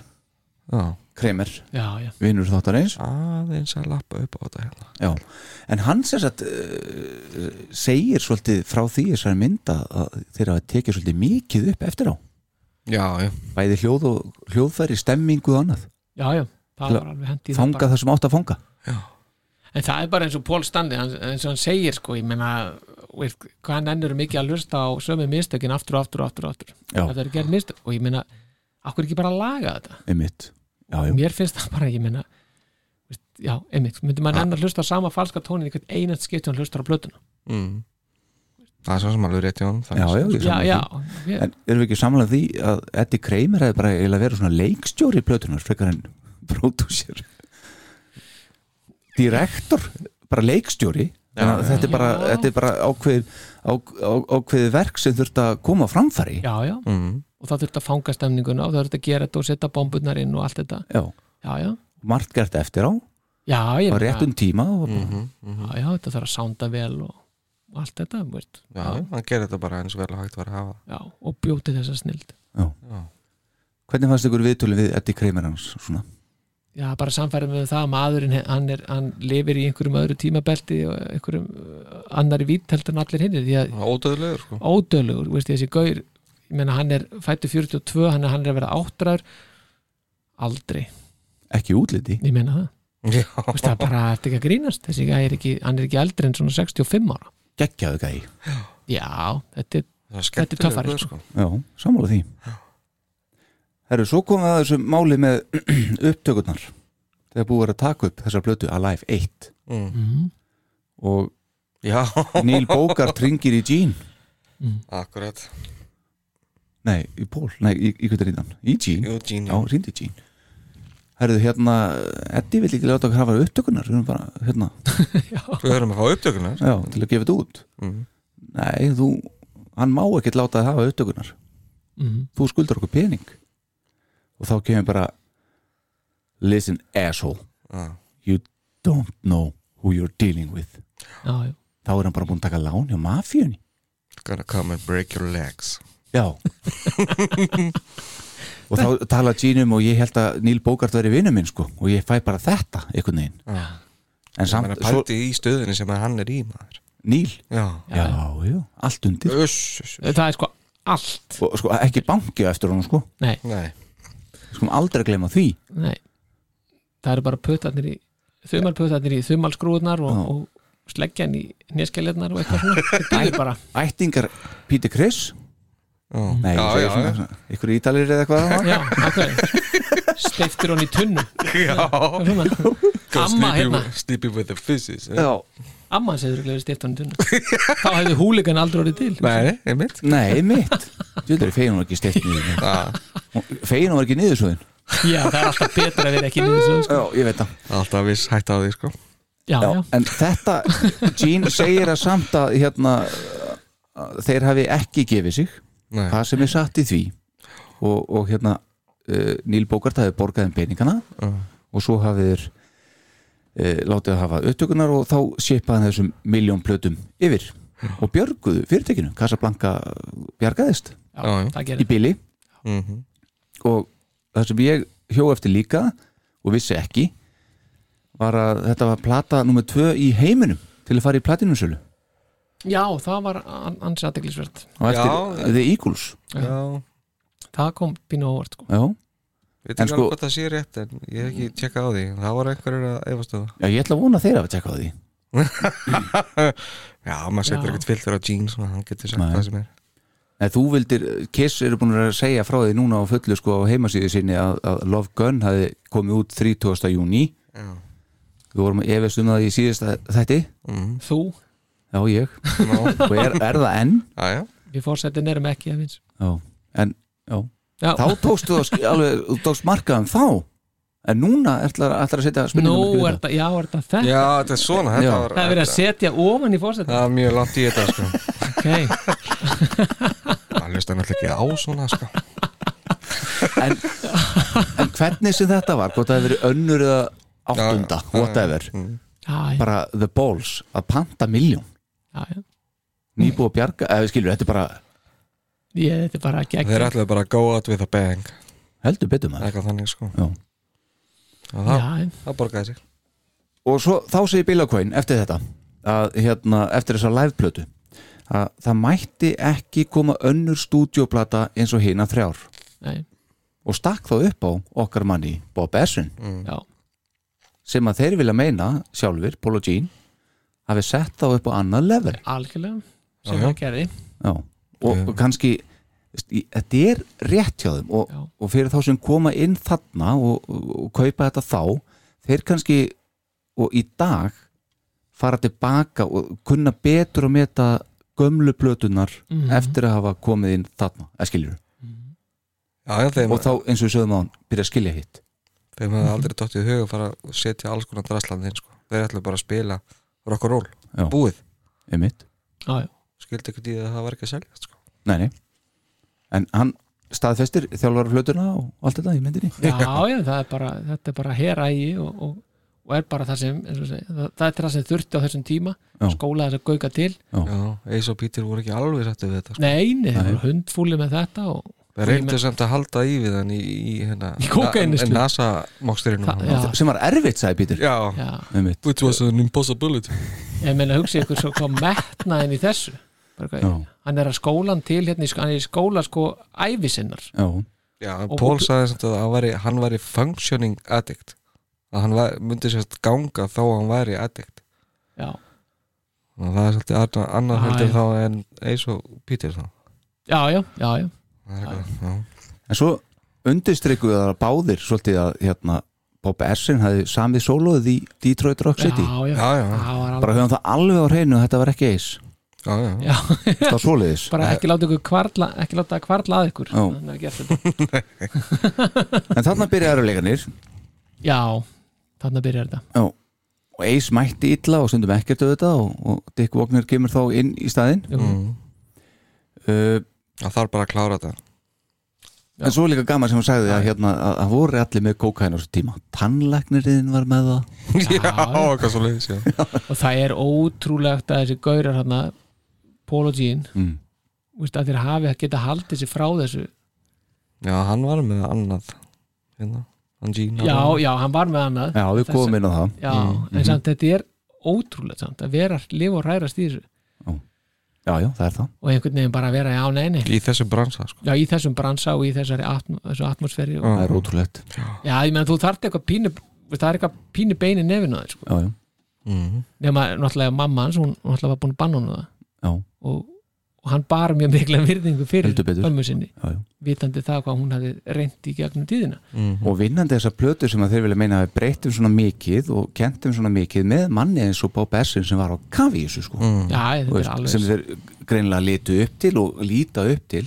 já
Kremer,
já, já,
vinnur þáttar eins
aðeins að lappa upp á þetta hérna
já. en hann sem sagt uh, segir svolítið frá því þessari mynda að þeir hafa tekið svolítið mikið upp eftir á
já, já,
bæði hljóð og hljóðfæri, stemmingu og annað
já, já það
Til að
var alveg hendi
fanga það sem átt að fanga
En það er bara eins og Pól Stanley hann- eins og hann segir sko, ég meina við- hvað hann ennur mikið að hlusta á sömu mistökin aftur og aftur og aftur og aftur
Já.
það er gerð mistök og ég meina akkur ekki bara að laga þetta
einmitt já, já.
mér finnst það bara, ég meina veist, já, einmitt, myndi maður enn að hlusta á sama falska tónin í hvert einast skipti hann hlustar á blötuna
mm. það er svo sem alveg rétt í honum
Já, já, ég sammála
Já, já,
því.
ég,
Mhm. En erum við ekki samanlega því að Eddie Kramer hefði bara eiginlega verið svona leikstjóri plötunar frekar en [laughs] pródúsir Direktor bara leikstjóri já,
já.
þetta, er bara,
Já.
þetta er bara ákveð, á, á, ákveð verk sem þurft að koma á framfæri
já, já
mm.
og það þurft að fanga stemninguna og það þurft að gera þetta og setja bomburnar inn og allt þetta
Já,
Já, já,
margt gert eftir á á
já, ég meina-
réttum tíma og bara,
Mhm,
já, já, þetta þarf að sánda vel og, og allt þetta, veist
já, hann gerir þetta bara eins og vel og hægt var að hafa
já, og bjóti þessa snild
Hvernig fannst ykkur viðtölum við Eddie Kramer hans svona?
já, bara samfærið með það að maðurinn hann, er, hann lifir í einhverjum öðru tímabelti og einhverjum uh, annari vít heldur en allir hinnir því að
ódöðlegur sko.
ódölugur, veist, þessi gaur ég meina hann er fættu 42, hann er, hann er að vera áttrar aldrei,
ekki í útliti
ég meina það
Já,
Þú veist, það er bara eftir ekki að grínast þessi gæi er ekki, hann er ekki eldri en svona 65 ára
geggjaðu gæi
já, þetta er
það er
þetta er töffari,
skemmtilega
sko.
sko.
Já, sammála því Herru, svo komum við að þessu máli með [clears throat] upptökurnar þegar búið er að taka upp þessar blötu Alive 1
mm.
mm,
og
Já, [laughs]
Neil Bogart ringir í Gene
akkurat
nei, í Paul, nei, í, í hvernig rindan í Gene,
Eugene,
já, rindi Gene Herru, hérna, Eddi vil ekki láta að hafa upptökurnar, við erum bara, hérna
við höfum að fá upptökuna
já, til að gefa þetta út
mm.
Nei, þú, hann má ekkert láta að hafa upptökunar
mm,
þú skuldar okkur pening og þá kemur bara listen asshole
Já.
you don't know who you're dealing with
já, já,
þá er hann bara búin að taka lán hjá mafíunni
Gonna come and break your legs
[laughs] já og þá tala Gínum og ég held að Níl Bókart veri vinnu minn sko og ég fæ bara þetta einhvern veginn
Já.
en
Það er
samt, svo,
pælti í stöðinni sem að hann er í maður
Níl
Já,
já, já, allt undir
uss, uss, uss.
það er sko allt
og sko, ekki banki á eftir honum sko
nei,
Nei,
skum aldrei að glema því
nei það eru bara pötarnir í þumalpötarnir í þumalskrúðnar og,
Já.
og sleggjan í neskjalirnar og eitthvað svona þetta er bara,
ættingar Peter Criss
já,
Nei,
já,
já,
já,
já, svona, ykkur ítalir eða eitthvað það var?
já, ok steiftir hann í tunnu
[laughs] já.
svona.
Go
amma
sleepy
hérna,
with- Sleepy with the fishes eh?
Já.
amma hans hefur gleður steift hann í tunnu þá hefði húlikan aldrei orðið til
Nei, einmitt Ah,
Nei, mitt Þetta er fegin hún var ekki steikt niður
Já,
Fegin hún var ekki niður svo þinn
já, það er alltaf betra að vera ekki niður svo sko.
Já, ég veit það
Alltaf viss hætt á því sko
já, já,
Já, En þetta, Gene segir að samt að hérna, að þeir hafi ekki gefið sig
Nei,
hvað sem er satt í því og, og hérna uh, Níl Bókart hafi borgað um peningana
Já.
og svo hafið þeir uh, látið að hafa upptökunar og þá sépaði hann þessum miljón plötum yfir og björguðu fyrirtekinu Casablanca bjargaðist
já, já.
það
í
gerir
bili
Mhm.
og það sem ég hjó eftir líka og vissi ekki var að þetta var plata nummer tvö í heiminum til að fara í platinumsölu
já, það var an- ansi aðteglisvert
og eftir
Já.
The Eagles
já
það kom pínu ávart sko.
já. En
Við veitum
sko-
alveg hvort það sé rétt en ég hef ekki tjekkað á því Það voru einhverjur að efast á það
já, ég ætla að vona þeirra að tjekka á því
Já, maður setur
Já.
ekkert filter á jeans og hann getur sagt
Nei.
hvað sem er
Nei, þú vildir, Kiss eru búin að segja frá því núna á fullu sko á heimasíðu sinni að, að Love Gun hafi komið út 30. júni
Já.
við vorum að efast um það í síðasta þætti
mm.
þú,
já ég,
[laughs]
Já,
og er, er það enn
já,
við fórsetin erum ekki að finnst
já. en já.
já,
þá tókstu þú að sk- alveg, þú tókst markaðum þá en núna ætlar, ætlar að setja
nú
spurningamerki við
er það, já, er það þetta
já, þetta er svona
Já.
þetta var,
það er verið að
þetta-
setja ofan í fórsetin
Það er mjög langt í þetta sko
ok,
Það löst hann alltaf ekki á svona sko
en, en hvernig sem þetta var hvort það hefur verið önnur eða áttunda,
Já, Mm. já.
whatever
já, já,
bara the balls, að panta miljón
já, já.
nýbúið að bjarga, eða skilur, þetta er bara
Ég, þetta er bara ekki
Þeir ætlaðu bara að go out with a bang
heldur betur maður
Eitthvað þannig sko
Já.
já,
Og það,
já,
það borgaði sig
og svo, þá segir Bill O'Quinn eftir þetta að, hérna, eftir þessa liveplötu að það mætti ekki koma önnur stúdioplata eins og hina þrjár
nei,
og stakk þá upp á okkar manni Bob Essun
Mm.
já,
sem að þeir vilja meina sjálfur, Paul og Gene hafi sett þá upp á annað level
algjörlega sem
Já, já.
það gerði
já. og
Já.
og kannski veist, í- þetta er rétt hjá þeim og,
Já.
og fyrir þá sem koma inn þarna og, og, og kaupa þetta þá þeir kannski og í dag fara tilbaka og kunna betur að meta gömlu plötunar
Mhm.
eftir að hafa komið inn þarna, eða skiljur
Já, já, þeim,
og þá eins og við sögum á hann, byrja að skilja hitt
þeim hefði aldrei dótt í hug að fara að setja alls konar draslandin sko. Þeir ætlaðu bara að spila rock'n'roll,
Já.
búið
einmitt
já, já,
Skildi ekkert í að það var ekki að selja sko.
Nei, nei. En hann staðfestir þjálfara flötuna og allt þetta í myndinni.
já, já, það er bara þetta er bara herægi og, og, og er bara það sem, eins og segja, það, það er það sem þurfti á þessum tíma,
Já.
skóla þess að gauka til
Já, Ace og Peter voru ekki alveg sattu við þetta sko.
Nei, nei, það
Nei.
var hundfúli með þetta og
Þeir reyndu samt að halda í við hann í, í, hérna,
Í kókaínislu.
na- NASA-moksturinnum
það,
hann.
já,
Sem var erfitt, sagði Pítur.
já,
já,
Einmitt.
which was an impossibility
ég meina hugsa ykkur svo hvað metnaðin í þessu Bara
Já.
eitthvað- hann er að skólan til hérna, í sk- hann er í skóla sko ævisinnar
já,
Já,
Og-
Pól sagði samt að hann væri, hann væri functioning addict að hann var, myndi sérst ganga þá að hann væri addict
já,
og það er svolítið annað, annað
Ah,
heldur
já.
þá en eins og Peter þá
já, já, já, já.
Það er
Ah,
eitthvað, já.
en svo undirstrikuðu það báðir svolítið að hérna Bob Essin hafði samið sólóðið í Detroit Rock City
já, Ah. já,
Já, já.
Það var alveg-
bara höfum það alveg á hreinu að þetta var ekki eis
Já, já, já.
já,
það var svoleiðis
bara ekki láta ykkur kvarla ekki láta það kvarla að ykkur
Já.
Hann hefur gert þetta.
en þarna byrja erfuleikanir
já, þannig byrjar þetta
og eis mætti illa og stundum ekkert auðvitað og, og Dick Wagner kemur þá inn í staðinn
Jú,
Mm.
uh,
Það þarf bara að klára þetta
en svo er líka gaman sem hún sagði að hérna að að voru allir með kókain á þessu tíma tannlæknirinn var með það
Ah.
[laughs] Já, eitthvað svo leiðis,
[laughs]
já
og það er ótrúlegt að þessi gaurar hann að Paul og Jean
mm.
veist, að þeir hafi að geta haldið sér frá þessu
Já, hann var með annað hérna, hann Gina
já, já, hann var með annað
já Mm, mhm. við
Þessi-
komum inn á það
já, en samt þetta er ótrúlegt samt að vera, lifa og rærast í þessu
já já það er það
og einhvern veginn bara vera já, nei, nei
Í þessu bransa, sko
já, í þessum bransa og í þessari atm þessu atmosfæri og,
það er ótrúlegt
já, ég meina þú þarft eitthvað pínu veist, það er eitthvað pínu bein í nefinu á þér, sko.
já já
mm.
nema náttúrulega mamma hans, hún náttúrulega var búin að banna hún það
Já.
og, og hann bar mjög mikla virðingu fyrir
Heldur betur.
ömmu sinni
Já, já.
vitandi það hvað hún hafi reynt í gegnum tíðina
og vinnandi þessar plötu sem að þeir vilja meina að við breytum svona mikið og kentum svona mikið með manni eins og Bob Essin sem var á kafi í þessu sko
Mm.
já, þetta
Þú
er
veist,
alveg
sem þeir greinlega litu upp til og líta upp til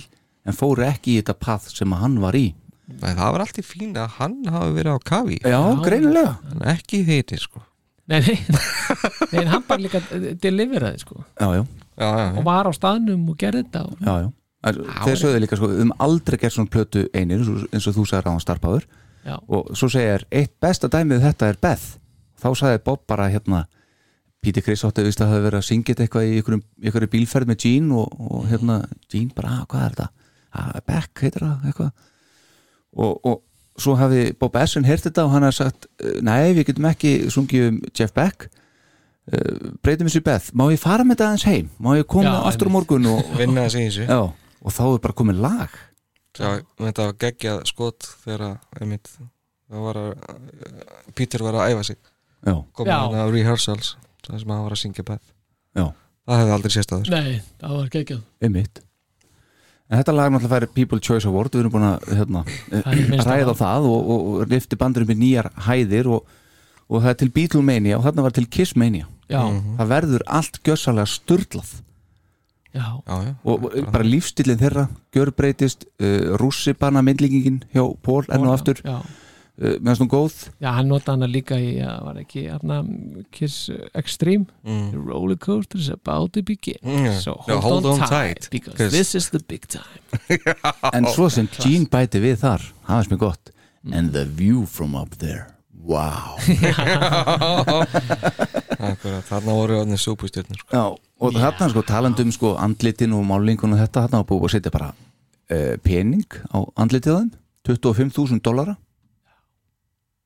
en fóru ekki í þetta path sem að hann var í
Nei, það var alltaf fín að hann hafi verið á kafi
já, greinilega
en ekki heiti, sko
nei, nei, nei, en hann bara líka eh, deliveraði sko,
já, já,
Já, já, já,
og var á staðnum og gerði þetta og,
já, já. Er, þeir sögðu líka sko, um aldrei gert svona plötu einir eins og, eins og þú sagði ráðan starpaður
já,
og svo segir, eitt besta dæmið um þetta er Beth þá sagði Bob bara hérna Píti Chris átti vist að hafa verið að syngja þetta eitthvað í einhverjum, einhverjum bílferð með Jean og, og hérna, Jean bara, "Ah, hvað er þetta? Ah, Beck heitir það, eitthvað og, og svo hafi Bob Essin heyrt þetta og hann hafði sagt "Eh, nei, við getum ekki sungið um Jeff Beck Eh, breytum þessu í Beth má ég fara með þetta aðeins heim? má ég koma
Já,
aftur á
einmitt.
morgun og,
[laughs]
vinna þessi í þessu
Já, og þá er bara komin lag
Já, þetta var geggjað skot þegar að, einmitt, það var að eh, Peter var að æfa sig
Já,
koma
Já.
hann að rehearsals það sem hann var að syngja bæð
Já.
það hefði aldrei sést aður
nei, það var geggjað
um mitt En þetta lag náttúrulega færi People Choice Award Við erum búin að hérna, [clears throat]
Það er minnsta
ræða
mál.
það og, og, og lifti bandur upp í nýjar hæðir og, og það er til Beatlemania og þarna var til Kissmania
já,
Það verður allt gjössalega sturlað
já,
já, já,
og, og bara lífstílinn þeirra gjörbreytist, uh, rússipanna myndlíkingin hjá Pól enn og aftur uh,
já,
meðan svona góð
já, hann notaði hana líka í að var ekki, hann Kiss eh, Extreme
Mm.
The roller coaster is about to begin
Mm,
so
já.
hold, on, tight, because
'cause-
this is the big time Ah,
en svo sem Gene bæti við þar það er sem er gott
Mm.
And the view from up there Wow
[laughs] Akkurat, þarna voru hann súpustjörnur sko.
Já, og þarna sko talandi um sko andlitin og málingun og þetta þarna var búið að setja bara uh, pening á andlitið á þeim 25.000 dollara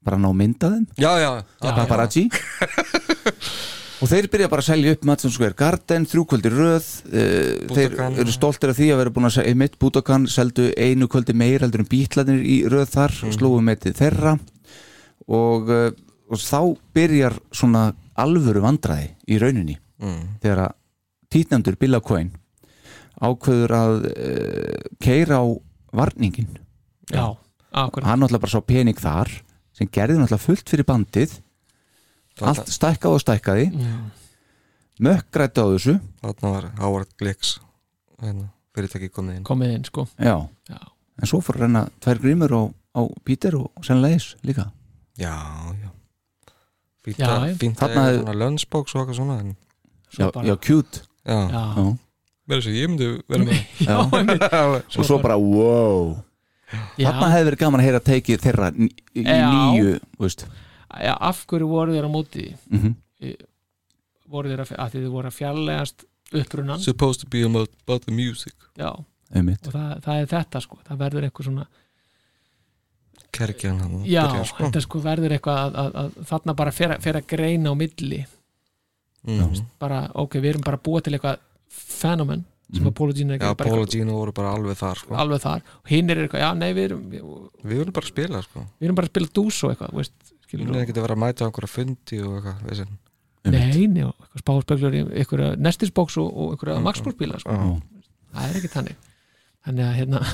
bara ná mynda þeim
já, já,
Já,
já, já.
paparazzi [laughs] og þeir byrja bara að selja upp Madison Square Garden, þrjúkvöldi röð uh, þeir
Budokan.
eru stoltir af því að vera búin að selja einmitt Budokan, seldu einu kvöldi meir heldur en bítlanir í röð þar mm. slóum eitthi þeirra og, uh, og þá byrjar svona alvöru vandræði í rauninni
Mm.
þegar að títnendur Bill O'Coin ákveður að uh, keira á varningin
já, akkur
hann náttúrulega bara sá pening þar sem gerði náttúrulega fullt fyrir bandið allt stækkaði og stækkaði
Mm,
mökkrætti á þessu
þarna var Howard Glicks hérna, fyrirtæki komið inn
komið inn sko
já.
Já.
en svo fór að renna tvær grímur á, á Peter og sennilegis líka
já, já fínt
Já,
að
já.
fínt að
Þarna
eiga
hefði-
svona lunchbox og eitthvað svona en,
já,
Svo bara-
já, cute
já,
já,
já.
verður svo ég myndi vera með
[laughs] já,
[laughs]
einmitt.
og svo bara wow
já,
þarna hefði verið gaman að heyra teikið þeirra í, í
Já.
nýju veist.
já, af hverju voru þeir á móti því?
Mm
voru þeir að, að þið voru að fjarlægast upprunan
supposed to be about, about the music
já,
-hmm.
og það, það er þetta sko það verður eitthvað svona
kerkjan hann
já,
byrjar, sko.
þetta sko verður eitthvað að, að, að þarna bara fer, að- fer að greina á milli
mm.
bara, ok, við erum bara að búa til eitthvað fenomen sem Apologina er
Mhm. Já,
bara
Paul
eitthvað-
og Gino voru bara alveg þar sko.
alveg þar og hinn er eitthvað, já nei við erum við,
Við viljum bara spila sko.
við erum bara að spila dús og eitthvað veist,
Við
skilur
viljum
þú?
ekki að vera að mæta á einhverja fundi og eitthvað vesen.
nei, nei, og eitthvað spáháspeglur í einhverja nestisbox og, og
Mhm.
einhverja maxbólbíla sko. það er ekki þannig þannig að hérna [laughs]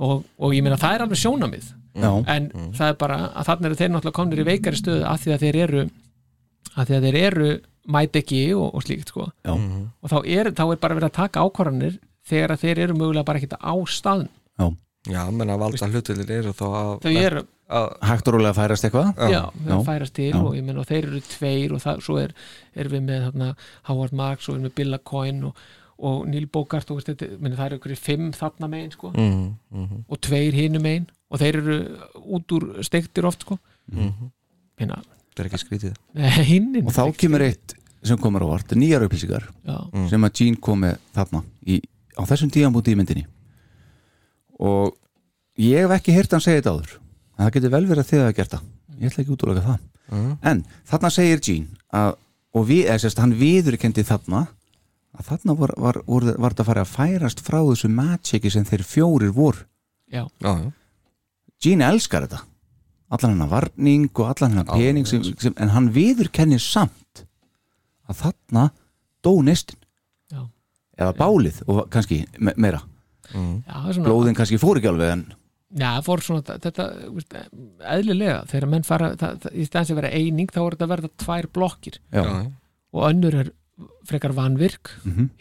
og, og ég meina það er alveg sjónamið
já,
en
Mm.
það er bara að þarna eru þeir náttúrulega komnir í veikari stöðu af því að þeir eru af því að þeir eru mæt ekki og, og slíkt sko
Já.
Mhm.
Mm.
og þá er, þá er bara verið að taka ákvarðanir þegar að þeir eru mögulega bara ekkert á staðn
Já, menn að valda hlutilir eru þá að,
þau eru,
að
hægt og rólega að færast eitthvað
já, þau
já.
færast til og, ég meina, og þeir eru tveir og það, svo er, er við með þarna, Howard Marks og við erum með Billa Coyne og, og Neil Bogart og veist, þetta, meni, það eru ykkur fimm þarna megin sko
mm, mm,
og tveir hinum megin og þeir eru út úr steiktir oft sko
Mhm.
Meina, [laughs]
Það er ekki skrítið
hinnin,
og þá kemur eitt sem komur á vart, nýjar upplýsingar
já.
sem að Gene kom með þarna í, á þessum tíðanbúti í myndinni og ég hef ekki heyrt hann segja þetta áður en það getur vel verið að þið hafa gert það ég ætla ekki út að lega það en þarna segir Gene að, og við, eða, sérst, hann viðurkendi þarna að þarna var, var, var, var þetta að fara að færast frá þessu matchiki sem þeir fjórir voru
Já, já
Gene elskar þetta allan hennar varning og allan hennar pening sem, sem, en hann viðurkennir samt að þarna dó neistin
Já.
eða bálið og kannski me meira
Mhm.
Já, það er svona,
blóðin kannski fór ekki alveg en
Já, það fór svona, þetta, veist, eðlilega þegar menn fara, það, það, í stæðan sem vera eining þá er þetta að verða tvær blokkir
já,
Já, já.
og önnur er frekar vanvirk,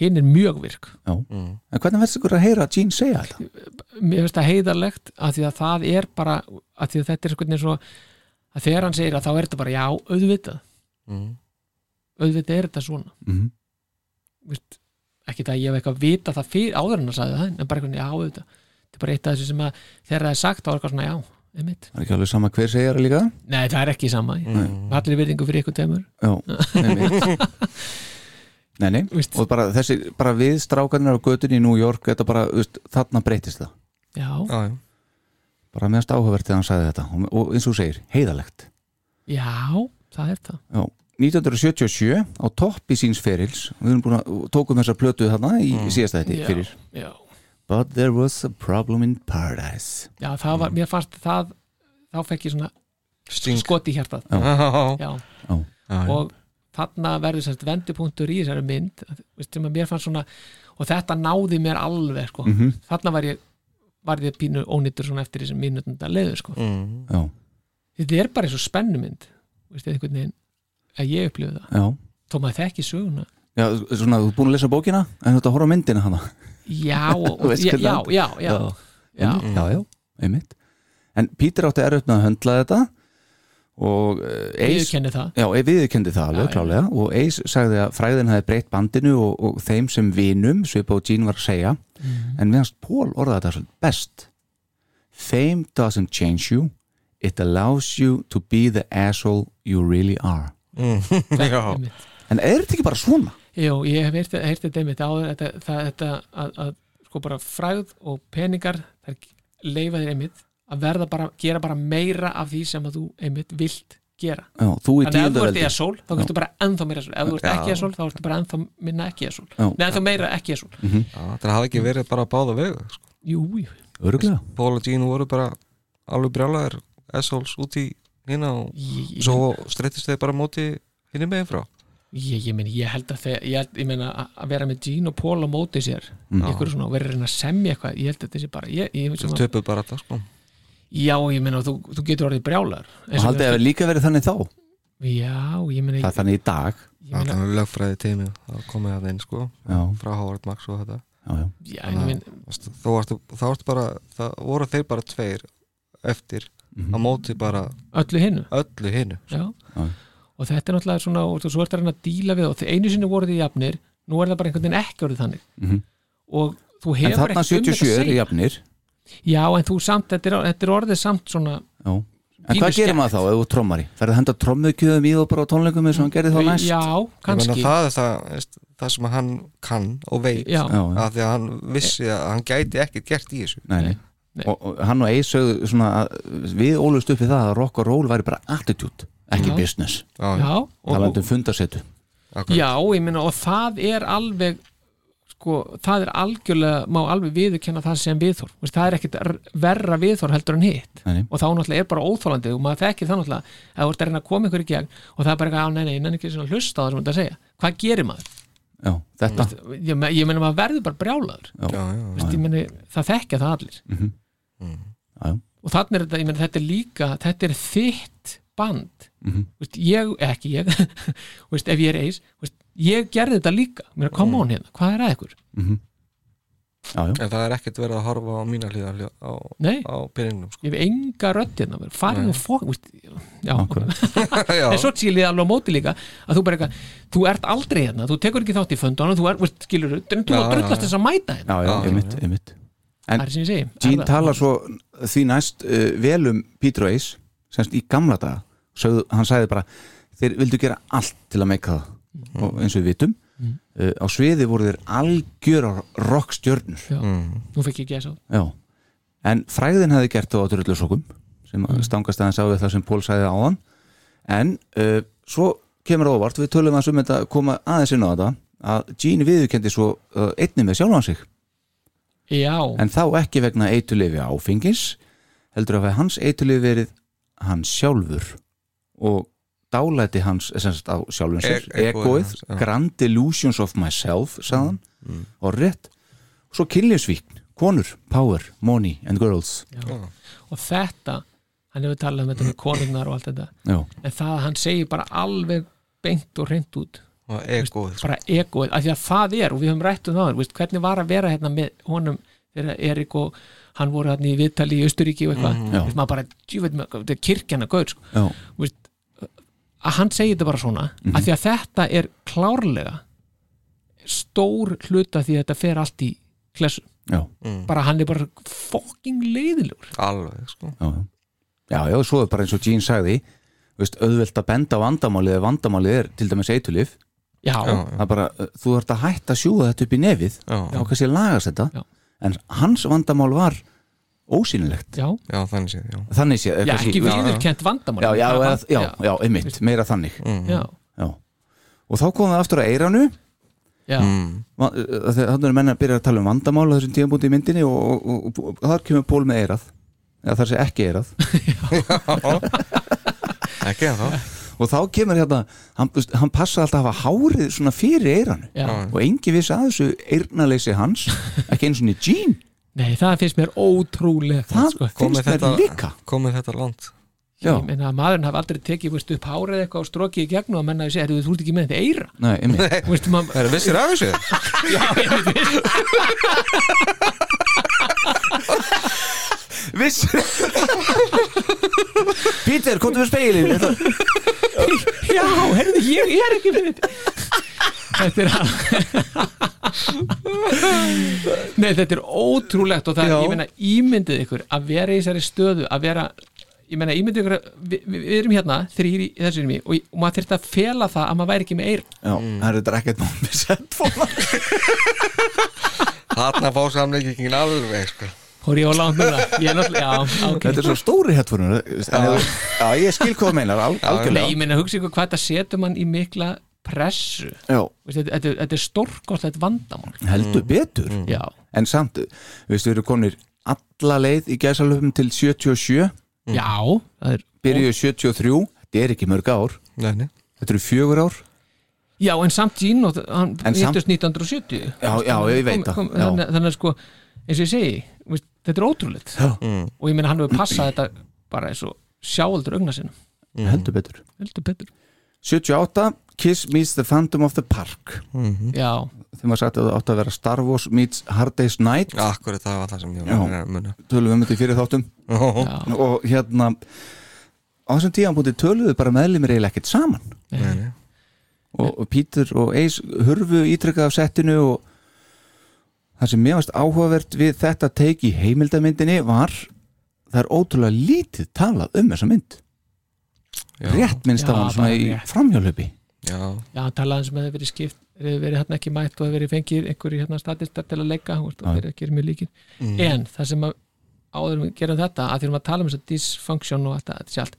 hinn er mjög virk
já. Mhm.
Mhm,
en hvernig verðst ykkur að heyra að Gene segja þetta
mér finnst það heiðarlegt að því að það er bara, að því að þetta er sko eins og að þegar hann segir að þá er þetta bara já, auðvitað,
Mm.
auðvitað er þetta svona
Mhm.
veist, ekki það að ég hef eitthvað vita það fyrir áður en að sagði það, en bara eitthvað já, auðvitað þetta er bara eitt af þessu sem að þegar það er sagt þá er eitthvað svona já, einmitt
það er ekki alveg sama hver segja það líka
Nei, það er ekki sama mm.
mhm.
Allir virðingu fyrir ykkur tveimur
já, einmitt. nei, nei
Víst.
og bara þessi, bara við strákarnir á götunni í New York, þetta bara, þú veist, þarna breytist það
Já,
Já, já.
bara meðast áhugavert þegar hann sagði þetta og- og eins og þú segir, heiðalegt
já, það er það
Já, 1977 á toppi síns ferils við erum búin að tókum þessa plötu þarna í síðasta þetta
Já.
fyrir
Já,
Mm. But there was a problem in paradise
já það var, mér fannst það þá fekk ég svona
Sting
skot í hjartað
Já.
Já,
Sko- Já,
já.
og þarna verður sérst vendupunktur í þessari mynd veist, sem að mér fannst svona og þetta náði mér alveg
Mm.
sko.
Mhm.
þarna var ég var ég pínu ónýttur svona eftir þessum mínutunda leiðu sko.
Mm.
Já,
þetta er bara eins og spennumynd veist, einhvern veginn að ég upplifu það
já,
Tóma þekki söguna
já svona, þú ert búin að lesa bókina en þú ert að horfa á myndina hana
Já, og,
Þú veist
já,
hvernig það-
já, já, já, já.
einmitt, já, já, einmitt En Pítur átti erfitt með að höndla þetta og eh,
Ég
Ace
kenni það
Já, ef viðurkendi það alveg,
Já, já.
klálega og Ace sagði að fræðin hafi breytt bandinu og, og þeim sem vinum, svipa og Gene var að segja
Mhm.
en meðanst Paul orðaði þetta svolítið best Fame doesn't change you it allows you to be the asshole you really are
mm. [laughs] Já.
Einmitt.
En er þetta ekki bara svona?
Jú, ég hef heyrt, heyrt þetta einmitt áður þetta, það, þetta að, að sko bara fræð og peningar þær leifa þér einmitt að verða bara, gera bara meira af því sem að þú einmitt vilt gera
Já, þú í
Þannig að ef þú ert
tíundaveldi
eða sól, þá getur bara ennþá meira sól ef þú ert ekki eða sól, þá ertu bara ennþá minna ekki eða sól
Já.
Nei, ennþá meira ekki eða sól
Mhm.
Já, Það hafði ekki verið bara báða vegu sko.
Jú, jú,
Örgulega
Paul og Gino voru bara alveg brjálæðir S-holes út í hérna og
ég, ég,
svo streytist þeir bara á móti hinn megin frá
ég, ég, meni, ég held að þegar ég, held, ég meina að- að vera með Gene og Paul á móti sér mm. ykkur svona og vera að reyna að semja eitthvað ég held að þetta sé bara ég, ég,
Þeir
svona,
töpuð bara þetta sko
Já, ég meina þú, þú getur orðið brjálar
Og haldið að líka verið þannig þá
Já, ég meina
Það er þannig í dag
ég
Það
meina,
er lögfræði teimi að komið að inn sko
Já,
frá Howard Max og þetta
já, já,
já, ég meina
Vast, Þó ertu, þá ertu bara, það voru þeir bara tveir eftir
Mhm.
á móti bara
öllu hinnu
öllu hinnu
já.
Já.
og þetta er náttúrulega svona og svo er þetta hérna að díla við og þegar einu sinni voru þið jafnir nú er það bara einhvern veginn ekki orðið þannig
Mhm.
og þú
En
hefur
þarna
ekki um þetta
77
að
er
segja
jafnir
já, en þú samt, þetta er, þetta er orðið samt svona
Já En
Pínu
hvað gerir maður þá ef þú ert trommari? Ferðu að henda trommuðkjöðum í þú bara á tónleikum eins og hann gerir þá næst?
já, kannski
Það er það, veist, það sem hann kann og veit
já,
já, já.
að því að hann vissi að hann gæti ekkert gert í þessu
Nei, nei.
Nei.
Og, og hann og Eis sögðu svona að við ólust upp við það að rock og roll væri bara attitude, ekki
Já.
business
já, og,
talandi um fundarsetu
já, ég meina og það er alveg sko, það er algjörlega má alveg viðurkenna það sem viðhorf Þú veist, það er ekkit r- verra viðhorf heldur en hitt
Nei, nei.
og þá náttúrulega er bara óþólandi og maður þekkir það náttúrulega að þú ert að reyna að koma ykkur í gegn og það er bara eitthvað, á nei, nei, ég nenni ekki svona að hlusta á það sem þú ert að segja hvað gerir maður?
já, þetta
Ég, me- ég meina maður verður bara brjálaður
já, já, Mm.
Þú veist, ég meni, það þekkja það allir
Já, já.
og þannig er þetta, ég meni, þetta er líka þetta er þitt band mm
Mhm.
veist, ég, ekki ég [laughs] þú veist, ef ég er eis, þú veist, ég gerði þetta líka Ég meina,
Mm.
come on hérna, hvað er að ykkur?
Mhm. já, já,
En það er ekkert verið að horfa á mína hlýða á,
Nei,
á byrjunum sko.
ég hef enga hérna, röddina farið og fók, þú veist, já
akkurat
já,
en svo skil ég alveg á móti líka að þú bara eitthvað, þú ert aldrei hérna þú tekur ekki þátt í föndunum, þú er, veist, skilur en þú
Já,
að drullast
já,
þess að mæta hérna
Já, já, einmitt, einmitt
það er sem ég segi
Gene
er það-
talar svo því næst uh, vel um Peter Ace semst í gamla daga Sögðu, hann sagði bara, þeir vildu gera allt til að meika það og eins og við vitum uh, á sviði voru þeir algjör rockstjörnur
Já,
Mm.
nú fekk ég gæsa
já. en fræðin hefði gert það á drullusokum sem stangast aðeins á við það sem Pól sagði áðan en uh, svo kemur óvart við tölum aðeins um þetta koma aðeins inn á þetta að Gene viðurkendi svo uh, einni með sjálfan sig
já,
en þá ekki vegna eitulifi áfengis heldur að hans eitulifi verið hans sjálfur og dálæti hans sem sagt, á sjálfum sér,
E- egoið
egoið
hans, já.
grand delusions of myself sagðan, mm. og rétt svo kynlífsvíkn, konur, power money and girls
og þetta hann hefur talað um þetta með konurnar og allt þetta
já,
en það að hann segir bara alveg beint og reynd út
og egoið sko.
bara egoið, af því að það er og við höfum rætt um það, áður, veist, hvernig var að vera hérna með honum þegar Erik og hann voru hérna í Vitali í Austuríki og eitthvað,
Mhm. Já.
veist, maður bara djúveit með, þetta er kirkjana gaur, sko,
já,
veist að hann segi þetta bara svona,
Mhm.
af því að þetta er klárlega stór hluta því að þetta fer allt í klessu,
já,
bara hann er bara fucking leiðilegur
alveg sko.
já, já. já, já, svo er bara eins og Gene sagði þú veist, auðvelt að benda á vandamálið ef vandamálið er til dæmis eitulif
já,
já,
það er bara, uh, þú ert að hætta að sjúga þetta upp í nefið
já,
þá kannski lagast þetta
Já.
en hans vandamál var ósýnilegt
já,
já, þannig séð já.
þannig sé
já ekki
já,
viðurkent vandamál
já, já,
Það
eða-
var-
já, já, einmitt, meira þannig
Mm.
já,
já. og þá komum við aftur að eiranu
já,
Mm.
þannig er menn að byrja að tala um vandamál á þessum tíðanbúti í myndinni og, og, og, og þar kemur ból með eirað eða þar sé ekki eirað
ekki en þá
og þá kemur hérna, hann, þú veist, hann passa alltaf að hafa hárið svona fyrir eiranu
já.
og engi vissi að þessu eirnaleysi hans ekki eins og niður Jean
nei, það finnst mér ótrúlega sko.
það
komið
finnst mér
þetta,
líka
komið þetta land [laughs]
já,
ég meina að maðurinn hafi aldrei tekið veist, upp hárið eitthvað og strokið í gegn og að menna að segja, "Heyrðu, þú ert ekki með þetta eira
nei, einmitt
Þú veist, maður,
Það er vissir af þessu
[laughs] Viss Pítur, komdu við speilin Þetta
já, heyrðu, ég er ekki með þetta þetta er að nei, þetta er ótrúlegt og það,
Já.
ég meina, ímyndið ykkur að vera í þessari stöðu, að vera ég meina, ímyndið ykkur, að- við, við, við erum hérna þrýr í þessu rými og, og maður þyrfti að fela það að maður væri ekki með eira
Já, það er þetta ekkert mámi sett fóla
Þarna fá samleikingin alveg sko.
Hóri ég á langt með það, ég er náttúrulega, já, ok
Þetta er svo stóri hettfórnur Já, ég skil hvað það meinar al,
Nei, ég
algjörlega
meina, hugsa ykkur hvað það setur mann í mikla pressu
Já, Mm.
Veist, þetta, þetta, þetta er stórkostlegt vandamál
heldur betur
já,
En samt, við veistu, við erum konir alla leið í gæsalöfum til 77
já það er,
byrjuðu 73, þetta er ekki mörg ár
Nei, nei
Þetta eru fjögur ár
já, en samt Gino hann
En samt-
hittust 1970
Já, já, ég veit það, já.
þannig, þannig að sko, eins og ég segi veist, þetta er ótrúlegt
Já.
og ég meina hann hefur passað þetta bara eins og sjáaldur augna sinna,
Heldur betur
heldur betur
78, Kiss meets the Phantom of the Park
já,
Þeim var sagt að það átti að vera Star Wars meets Hard Day's Night
Akkurat það var það sem ég
Já.
var að muna
Tölum við um þetta í fyrir þáttum
Já,
já,
og hérna á þessum tíðanbúti töluðu bara meðlumir eiginlega ekkert saman
nei, nei.
og, og Pítur og Eis hurfu ítrekkað af settinu og það sem mér varst áhugavert við þetta teik í heimildamyndinni var það er ótrúlega lítið talað um þessa mynd
Já.
rétt minnst
Já,
af hann svona
bara
í
rétt.
framhjálöpi
Já,
já, hann talaði eins og með það verið skipt hefur verið hérna ekki mætt og hefur verið fengið einhverju hérna statistar til að leika veist, og
Já.
verið að gera mjög líkir en það sem að áður við gerum þetta að því erum að tala um þess að dysfunction og allt þetta sjálft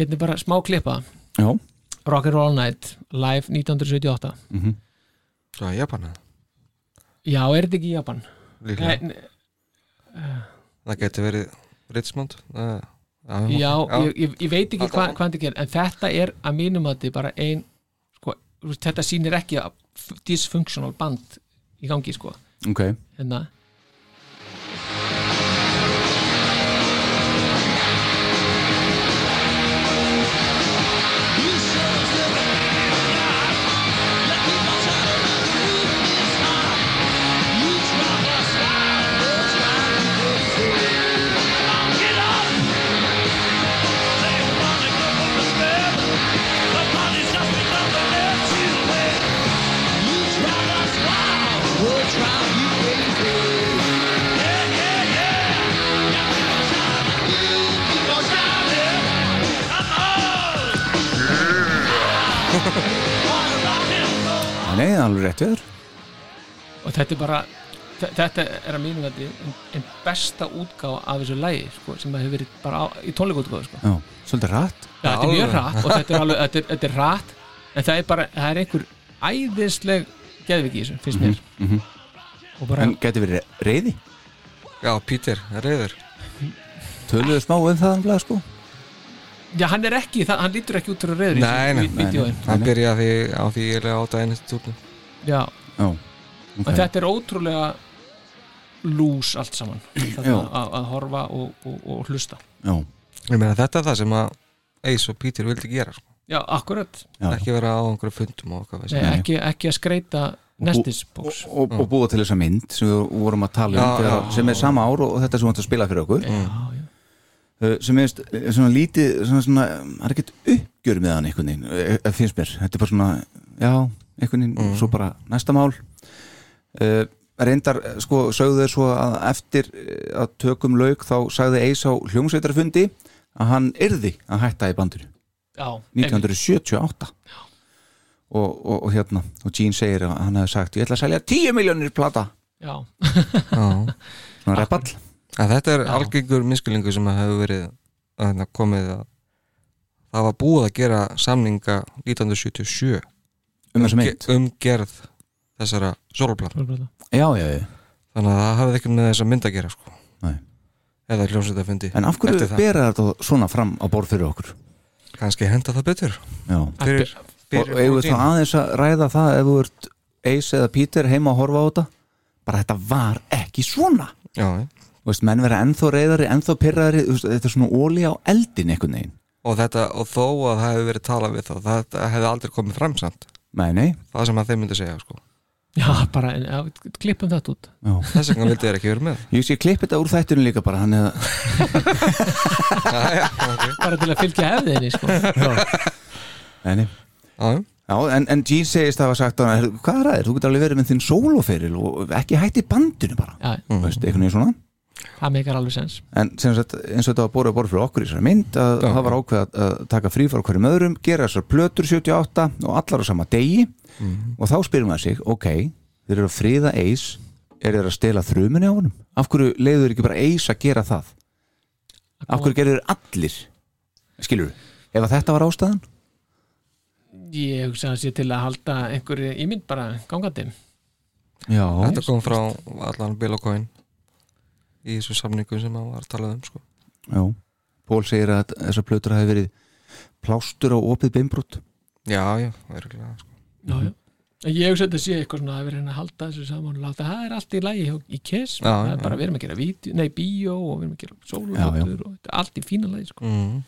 hérna er bara smá klippa
já,
Rock and Roll Night live 1978
svo að ég banna
já, er þetta ekki í Japan?
líklega
Nei,
það geti verið Richmond uh,
já, Ég, ég, ég veit ekki hva, hvað þetta gerir en þetta er að mínum að þetta bara ein sko, þú veist, þetta sýnir ekki að f- dysfunctional band í gangi sko
ok,
hérna
nei, það er alveg rétt við þér
og þetta er bara þe- þetta er að mínum að þetta ein, ein besta útgáfa af þessu lægi sko, sem hefur verið bara á, í tónleikútgáfu sko.
já, svolítið rætt
Já, þetta er mjög
alveg.
hratt og þetta er, alveg, þetta, er, þetta er hratt en það er bara, það er einhver æðisleg geðvik í þessu, finnst mér og bara,
en geti verið reyði,
já, Peter, reyður
töluðu smá um það annað, sko.
já, hann er ekki það, hann lítur ekki út frá reyður í
Nei, nei,
þessu
nei,
vídjóin
nei.
hann byrja á því á því ég lega átta einnig túrnum
já,
já,
en
ok
þetta er ótrúlega lús allt
[clears throat]
saman
Já.
þarna að að horfa og, og, og hlusta
já,
ég meina þetta er það sem að Ace og Peter vildi gera sko.
já, akkurat,
já.
ekki vera á einhverju fundum og hvað veist
Nei, ekki, ekki að skreita
og,
nestisbóks
og, og búa til þessa mynd sem við vorum að tala um
Mm. Já,
þegar,
já.
sem er sama ár og, og þetta sem við vantum að spila fyrir okkur
já, já,
uh, sem er svona lítið svona, svona, það er ekkert uppgjör með hann einhvern veginn, eh, eh, finnst mér þetta er bara svona, já, einhvern veginn
Mm.
svo bara næsta mál uh, reyndar, eh, sko, sögðu þeir svo að eftir eh, að tökum lauk þá sagði Eis á hljómsveitarfundi að hann yrði að hætta í bandinu
já
1978 og, og, og hérna, og Gene segir að hann hefði sagt, ég ætla að selja 10 miljónir plata,
já,
að
svona repall
þetta er
Já.
algengur miskilningu sem að hefur verið að hérna komið að það var búið að gera samninga 1977
um þessa mynd,
um gerð þessara soloplan
já, já, já
þannig að það hafði ekki með þessa mynd að gera sko.
Nei.
eða hljómsveitafundi
en af hverju
Eftir það.
bera þetta svona fram á borð fyrir okkur
kannski henda það betur
já
fyrir,
og eigum við þá aðeins að ræða það ef þú ert Ace eða Peter heima að horfa á þetta bara þetta var ekki svona
já, já.
Þú veist, menn vera ennþá reyðari, ennþá pyrraðari þetta er svona óli á eldin einhvern veginn
og þetta og þó að það hefði verið talað við þá þetta hefði aldrei komið fram samt
nei, nei,
það sem að þeim myndi segja sko.
já, bara, en- já, klippum þetta út
já
þess vegna vildi þeir ekki verið með
ég sé klipp þetta úr þættinu líka bara hann eða,
bara til að fylgja hefðinni
[laughs]
sko. já,
nei, nei
já, já.
Já, en, en Gene segist að hafa sagt á hann hvað er aðeins, þú getur alveg verið með þinn sóloferil og ekki hætti bandinu bara
já,
mm. veist, einhvern veginn svona
það meikar alveg sens
en sem sagt, eins og þetta var borðið að borð fyrir okkur í þessari mynd að
Já.
það var ákveð að taka frí frá hverjum öðrum, gera þessar plötur 78 og allar á sama degi
Mm.
og þá spyrir maður sig, ok þeir eru að friða eis, er þeir að stela þruminni á honum? Af hverju leiður þeir ekki bara eis að gera það? Af hverju gerður þeir allir? Skilur þú? Ef að þetta var ástæðan?
ég hugsa að sé til að halda einhverju ímynd bara gangandi
Já,
þetta kom frá allan Bill og Coin í þessu samningum sem að var talað um sko.
Já. Pól segir að þessar plötur hafi verið plástur á opið beinbrot
já, já, verulega sko.
já, já. En ég hugsa að þetta sé eitthvað svona að vera henni að halda þessu saman og láta, það er allt í lagi hjá- í KES
Já,
það er
já.
bara við erum að gera vídeo, nei, bíó og við erum að gera sólulóttur og þetta er allt í fína lagi sko.
mm.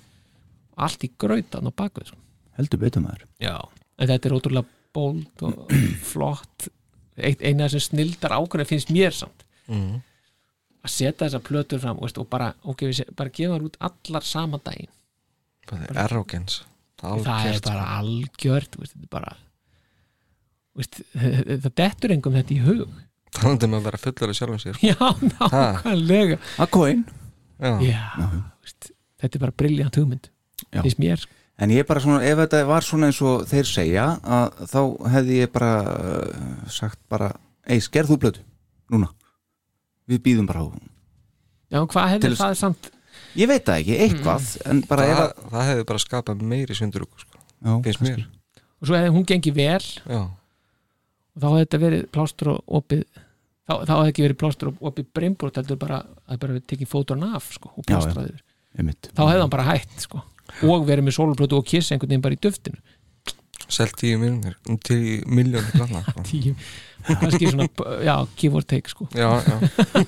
allt í grautan og bakvið sko.
heldur betur maður
já. en þetta er ótrúlega bold
[clears throat]
og flott Eitt, eina þessi snildar ákveðin finnst mér samt
Mm.
að setja þessa plötur fram veist, og bara, okay, við se- bara gefa þær út allar sama daginn
það er arrogance
það er
Algjört,
bara algjört veist, þetta er bara veist, [laughs] það dettur engum þetta í hug [laughs]
sko. talandi um að vera fullur í sjálfum sér sko.
já, nákvæmlega
Að coin
já,
já, veist, þetta er bara briljant hugmynd
Já.
finnst mér sko.
En ég bara svona, ef þetta var svona eins og þeir segja að þá hefði ég bara uh, sagt bara, ei, skerð þú blötu núna, við býðum bara á
já, en hvað hefði
Til-
það samt
ég veit það ekki, eitthvað en bara ef
það,
að
það hefði bara skapað meiri sundur sko.
já,
finnst
kannski.
mér
og svo hefði hún gengið vel
já,
og þá hefði þetta verið plástur og opið þá, þá hafði ekki verið plástur og opið brimbúrt heldur bara að bara við tekið fóturinn af sko, og
Já, já.
plástraður,
einmitt
þá hefði hann bara hætt sko. og verið með sólplötu og kiss einhvern veginn bara í duftinu
Selt 10 miljónir 10 miljónir granna sko.
tíu, kannski [laughs] svona já, give or take sko
Já, já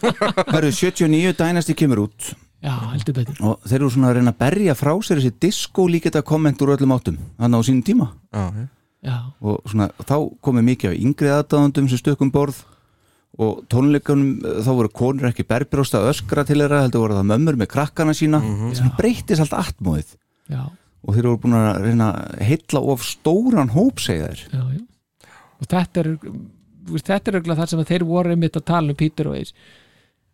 Herru, 79 Dynasty kemur út
já, heldur betur,
og þeir eru svona að reyna að berja frá sér þessi disco líketa komment úr öllum áttum þannig á sínum tíma
Já, já.
já,
og svona, þá komið mikið af yngri aðdáðandum sem stökkum borð og tónleikunum eh, þá voru konur ekki berbrjósta öskra til þeirra heldur voru það mömmur með krakkana sína sem breytist allt atmóðið
já,
og þeir voru búin að reyna að heilla of stóran hóp segja þeir
já, já. og þetta er þú veist, þetta er auðvitað það sem að þeir voru einmitt að tala um Peter og Ace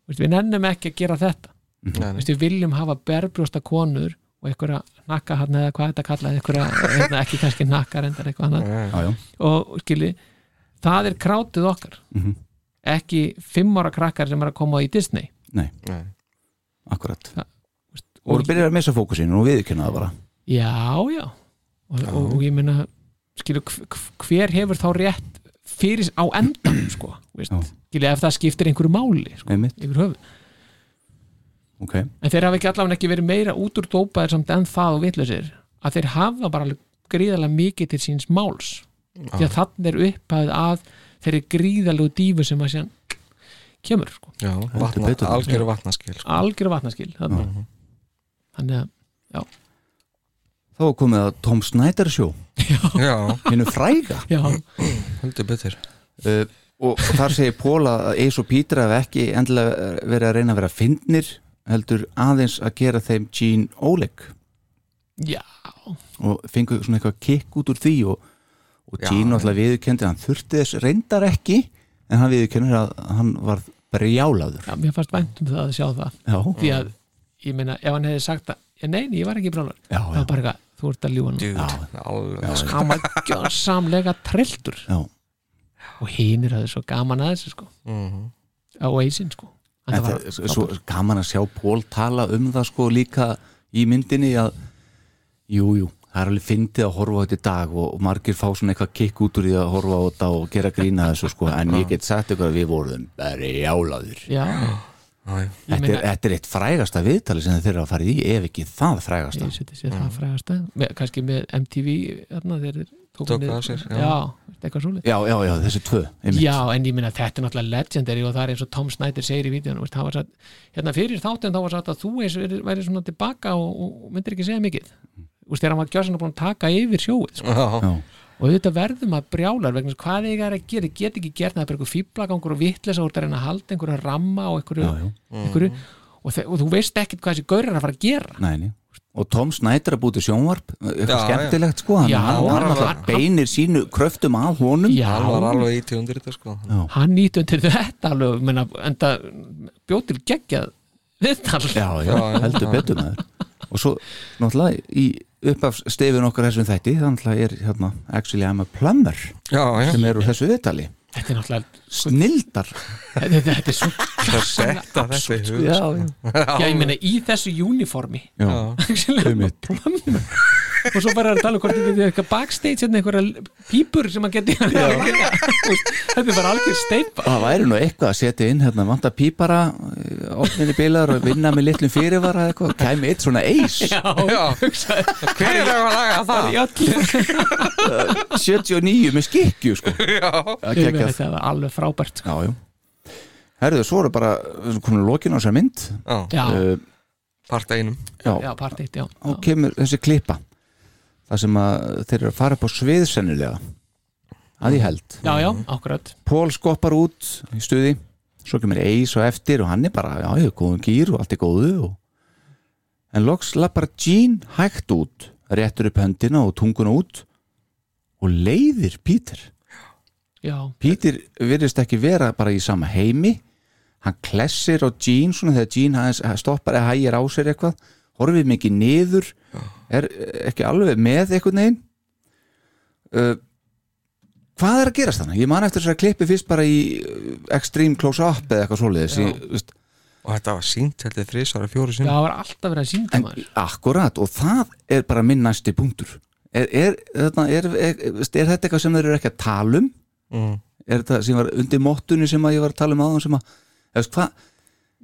Þú veist, við nennum ekki að gera þetta
Nei,
Þú
nei.
veist, við viljum hafa berbrjósta konur og einhverja nakka hann eða hvað þetta kallaði einhverja, hérna, ekki kannski nakkar endar eitthvað annað
Já, já.
já, já.
og skilji, það er krátið okkar
Mhm.
ekki fimm ára krakkar sem er að koma í Disney
Nei.
akkurat
Það-
og voru byrjar að missa fókusinu og viðkynna það bara
já, já og, og, og ég meina skilju, hv- hv- hver hefur þá rétt fyrir á endan, sko
Já.
skilji, ef það skiptir einhverju máli sko,
einmitt,
yfir höfuð,
ok,
en þeir hafa ekki allavega ekki verið meira út úr dópaðir samt enn það og vitlausir að þeir hafa bara alveg gríðarlega mikið til síns máls því að þannig er upphæðið að þeirri gríðalegu dífu sem að sér kemur, sko
já vatna,
betur.
Algjör vatnaskil sko.
algjör vatnaskil þarna.
Mhm.
þannig að [laughs]
þá var komið að Tom Snyder sjó
Já,
[laughs] hennu fræga
já,
heldur betur
uh, og þar segir Pól að Eis og Pítur hafa ekki endilega verið að reyna að vera fyndnir heldur aðeins að gera þeim Gene Oleg
já,
og fengu svona eitthvað kikk út úr því og, og
Já,
Gene
já.
alltaf viðurkendi hann þurfti þess reyndar ekki en hann viðurkendir að hann var brjálaður
já, mér fannst vænt um það að sjá það
já,
því að, ég meina, ef hann hefði sagt að "Já, nei, nei, ég var ekki brálar
já,
það
já,
var bara eitthvað, þú ert að ljúa nú
Dude, alveg sko.
hann var gjörsamlega trilltur
já.
og hinir hafði svo gaman að þessu sko
Mhm.
á eisin sko En
En
það var-
það, svo gaman að sjá Pól tala um það sko líka í myndinni að jú, jú, það er alveg fyndið að horfa á þetta í dag og, og margir fá svona eitthvað kikk út úr því að horfa á þetta og gera grína þessu sko en ég get sagt ykkur að við vorum bara jálaður [gasps]
já,
Já, já.
ég
þetta, er,
meina
þetta er eitt frægasta viðtali sem þeir eru að fara í ef ekki það frægasta
ég seti sér það frægast kannski með MTV þarna, þegar þeir
Tóku
niður-
af sér, já.
já, eitthvað svoleið
Já, já, já, þessi tvö einmitt.
Já, en ég minna þetta er náttúrulega legendary og það er eins og Tom Snyder segir í vídjónu veist, hann var satt, hérna fyrir þáttun þá var satt að þú eins væri, væri svona tilbaka og, og myndir ekki segja mikið
Mm.
Þú veist, þegar hann var gjössan búin að taka yfir sjóið sko.
Já,
Já,
og auðvitað verðum að brjálar vegna þess að hvað eiga er að gera, ég get ekki gert það er bara einhver fýblagangur og vitleis og þú ert að reyna að halda einhverju ramma og einhverju,
já, Mm. já,
einhverju og, þe- og þú veist ekkit hvað þessi gaur er að fara að gera
næni Og Tom Snyder að búti sjónvarp eh, eitthvað
Já, já.
skemmtilegt sko hann,
Já,
hann, hann,
hann
hann,
var-
beinir sínu kröftum að honum
Já,
hann var alveg íti undir þetta sko
hann nýtt undir þetta alveg, ég meina, enda bjótil geggjað viðtal
já, já,
Já, já.
heldur betur maður og svo náttúrulega í uppafstefin okkar þessum þætti þannig að er hérna actually I'm a plumber
Já, já
sem er úr þessu viðtali
þetta er náttúrulega
snildar
þetta, þetta, þetta er svo
Það setta þetta í hug
já,
sko.
já,
Já, ég meina í þessu uniformi [laughs]
já.
Plömmur Og svo bara að tala um hvort þið veitir eitthvað backstage hérna einhverja pípur sem að geti Þetta er bara algjör steipa
það væri nú eitthvað að setja inn hérna vanta pípara, eh, opninni bílar og vinna með litlum fyrirvara eða eitthvað kæmi eitt svona eis
Já, hugsaði
Hver er að laga
Ah.
það?
í öllu
79 með skikju sko já,
Ég meina,
geggjað.
Þetta var alveg frábært sko.
já, já herðu, svo eru bara komin lokin á þessar mynd
Já,
Já,
uh,
part einum
já,
já, part 1, já
þá kemur þessi klippa það sem að þeir eru að fara upp á svið sennilega að ég held
Já, já, akkurat
Pól skoppar út í stuði svo kemur Eis og eftir og hann er bara já, ég er góðum gýr og allt er góðu og... en loks lappar Jean hægt út réttur upp höndina og tunguna út og leiðir Pítur
Já,
Pítur virðist ekki vera bara í sama heimi hann klessir á Jean svona þegar Jean hans- hann stoppar eða hægir á sér eitthvað horfið mikið niður er eh, ekki alveg með eitthvað negin uh, hvað er að gerast þannig? ég man eftir þess að klippi fyrst bara í eh, Extreme Close-Up eða eitthvað svoleiðis ég, veist,
Og þetta var sínt heldur þrísvara fjóru
já,
sinni
það var alltaf verið að sýnda
en
maður
akkurat og það er bara minn næsti punktur er, er, er, er, er, er, er þetta eitthvað sem þeir eru ekki að tala um
mm.
er þetta sem var undir mottunni sem að ég var að tala um áðan sem að eða, hva,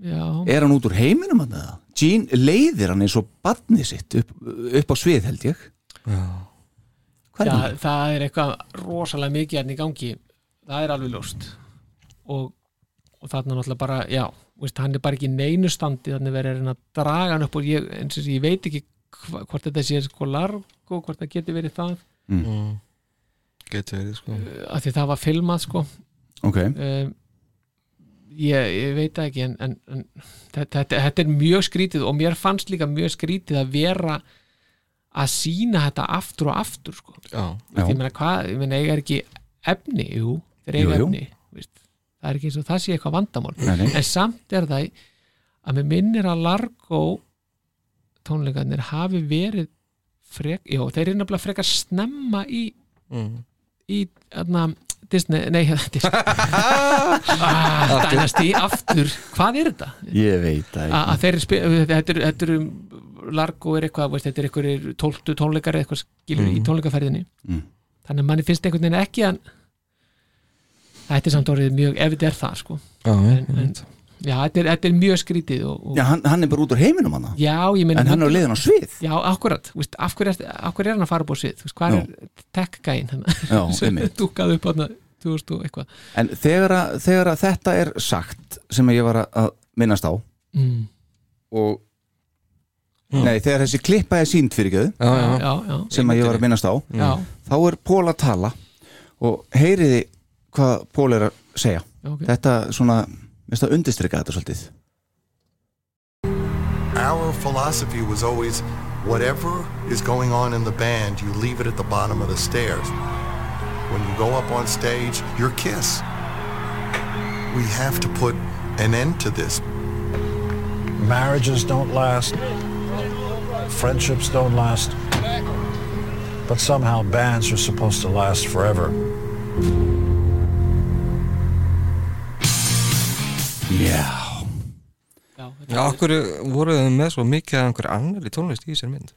já,
er hann út úr heiminum hann eða? Gene leiðir hann eins og barnið sitt upp, upp á svið held ég hvað
já,
er hann?
það er eitthvað rosalega mikið hérna í gangi það er alveg ljóst og, og þarna náttúrulega bara já, veist, hann er bara ekki í neinu standi þannig verið að reyna að draga hann upp og ég, eins og sé, ég veit ekki hva, hvort þetta sé sko largo, hvort það geti verið það
mm. getur verið sko
af því það var filmað sko
ok,
um, ég, ég veit það ekki en, en, en þetta, þetta, þetta er mjög skrítið og mér fannst líka mjög skrítið að vera að sína þetta aftur og aftur sko.
já,
Já.
ég meina hvað, ég meina eiga er ekki efni, jú, þeir eiga
Jú, jú.
efni veist. það er ekki eins og það sé eitthvað vandamál
Nei, nei.
en samt er það að mér minnir að Largo tónleikarnir hafi verið frek, já, þeir eru nefnilega frekar snemma í
mm.
í aðna, Disney, nei, [laughs] hérna,
[laughs]
Disney ah, Dynasty, aftur hvað er þetta?
ég veit það
A, að þeir eru spi- þetta eru- þetta eru Largo er eitthvað, veist, þetta eru einhverjir tóltu tónleikar eða eitthvað skilur í tónleikaferðinni
Mm.
þannig að manni finnst einhvern veginn ekki að þetta er samt orðið mjög ef þetta er það sko
já,
en, en, já, þetta er, þetta er mjög skrítið og, og,
já, hann, hann er bara út úr heiminum hann
já, ég meina
en hann er á leiðin á svið
já, akkurat, veist, af, hverju er, af hverju er hann að fara búið svið, Þú veist, hvað
Já.
er tech-gæin hann
já,
[laughs] sem
einmitt.
dúkaði upp hann 2000 og eitthvað
en þegar að, þegar að þetta er sagt sem ég var að- að minnast á
mm.
og nei, þegar þessi klippa er sínd fyrir göðu
já, já,
já, já,
sem að ég var að minnast á
já,
þá er Pól að tala og heyriði hvað Pól er að segja
já, ok
þetta svona, veist það undistrykka þetta svolítið
Our philosophy was always whatever is going on in the band, you leave it at the bottom of the stairs. When you go up on stage, your kiss. We have to put an end to this.
Marriages don't last. Friendships don't last. But somehow bands are supposed to last forever.
já,
já, þetta-
já okkur voru þau með svo mikið að einhver annar í tónlist í þessari mynd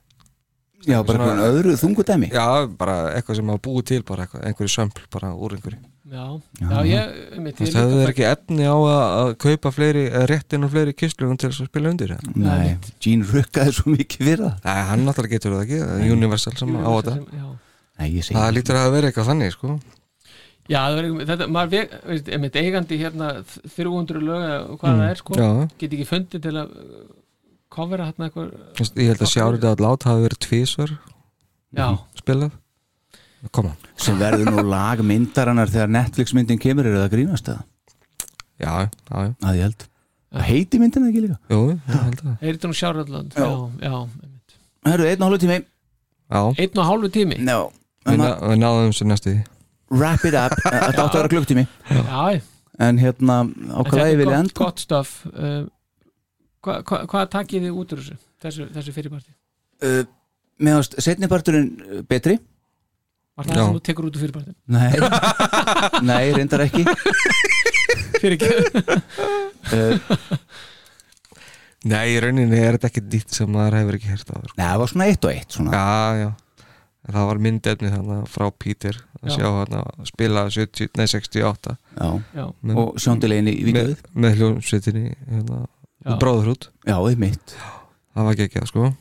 já bara
Svona-
svona, öðru þungudæmi
já, bara eitthvað sem að búi til bara eitthvað, einhverju sömpl bara úr einhverju
já, já, ég, einmitt,
Þú
ég
veist, höfðu
líka
þeir ekki efni á að, að kaupa fleiri, eða réttin og fleiri kistlugum til þess að spila undir það?
nei, Gene rukkaði svo mikið fyrir það
Nei, hann náttúrulega getur það ekki, Universal sem á þetta.
sem- já.
nei, ég segi
Það lítur að vera eitthvað þannig, sko.
Já, það var einhver- þetta, maður veg, veist, einmitt eigandi hérna þ- 300 lög eða hvað það er sko,
Mm, Já,
get ekki fundið til að uh, covera hérna eitthvað,
Þú veist, ég held að sjárið að lát hafi verið tvísvar
já,
spilað. Koma.
sem verður nú lag myndarannar þegar Netflix myndin kemur eru það að grínast það,
Já, já, já.
að ég held það heiti myndin ekki líka
Jú, ég held að.
heyrðu nú Sjáralland
Já.
já, já, einmitt.
Herru, einn og hálfu tími
Já,
einn og hálfu tími
no.
við, ná, við náðum sér næstu því.
wrap it up, þetta áttu að vera klukktími
já, en
en hérna, á hvað
þetta
lagi
er
vil ég
gott,
enda
gott stöf uh, hvað hva, hva takkið þið út úr þessu þessu, þessu fyrirparti,
uh, með ást, setniparturinn uh, betri
var það
Já.
það sem þú tekur út úr fyrirparti
Nei, [laughs] nei reyndar ekki
fyrir
[laughs]
ekki,
uh,
Nei, í rauninni er þetta ekki dýtt sem maður hefur ekki hert á það, sko.
Nei, það var svona eitt og eitt svona.
Já, já. En Það var myndefni þannig frá Pítur að
Já.
sjá hann að spila 70, nei, 68
Já.
já,
með,
Og sjóndileginni í
með,
vídeoð
með hljómsveitinni hérna,
já.
bróðurút.
Já, einmitt
það var geggjað sko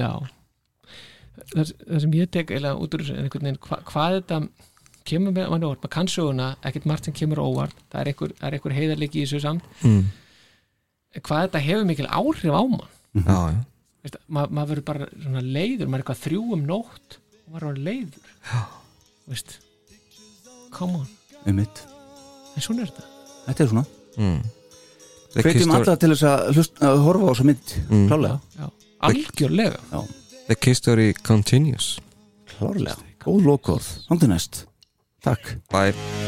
Já það, það sem ég tek eiginlega út úr þessu er einhvern veginn hva, hvað þetta kemur með mann óvart, maður kannsöguna, ekkert margt sem kemur á óvart það er einhver, það er einhver heiðarleiki í þessu samt
mm.
En hvað þetta hefur mikil áhrif á mann
já, já.
Veist, ma, maður verður bara svona leiður maður er eitthvað þrjú um nótt og maður er orðinn leiður Veist, come on,
Einmitt
en svona er þetta
Þetta er svona
Mm. The
Hvetjum
Kistor-
alla til þess að, hlust, að horfa á þessa mynd
Mm.
Klárlega
Já, algjörlega
The Kiss Story Continues
Klárlega Góð lokoð Hangdu næst Takk
Bye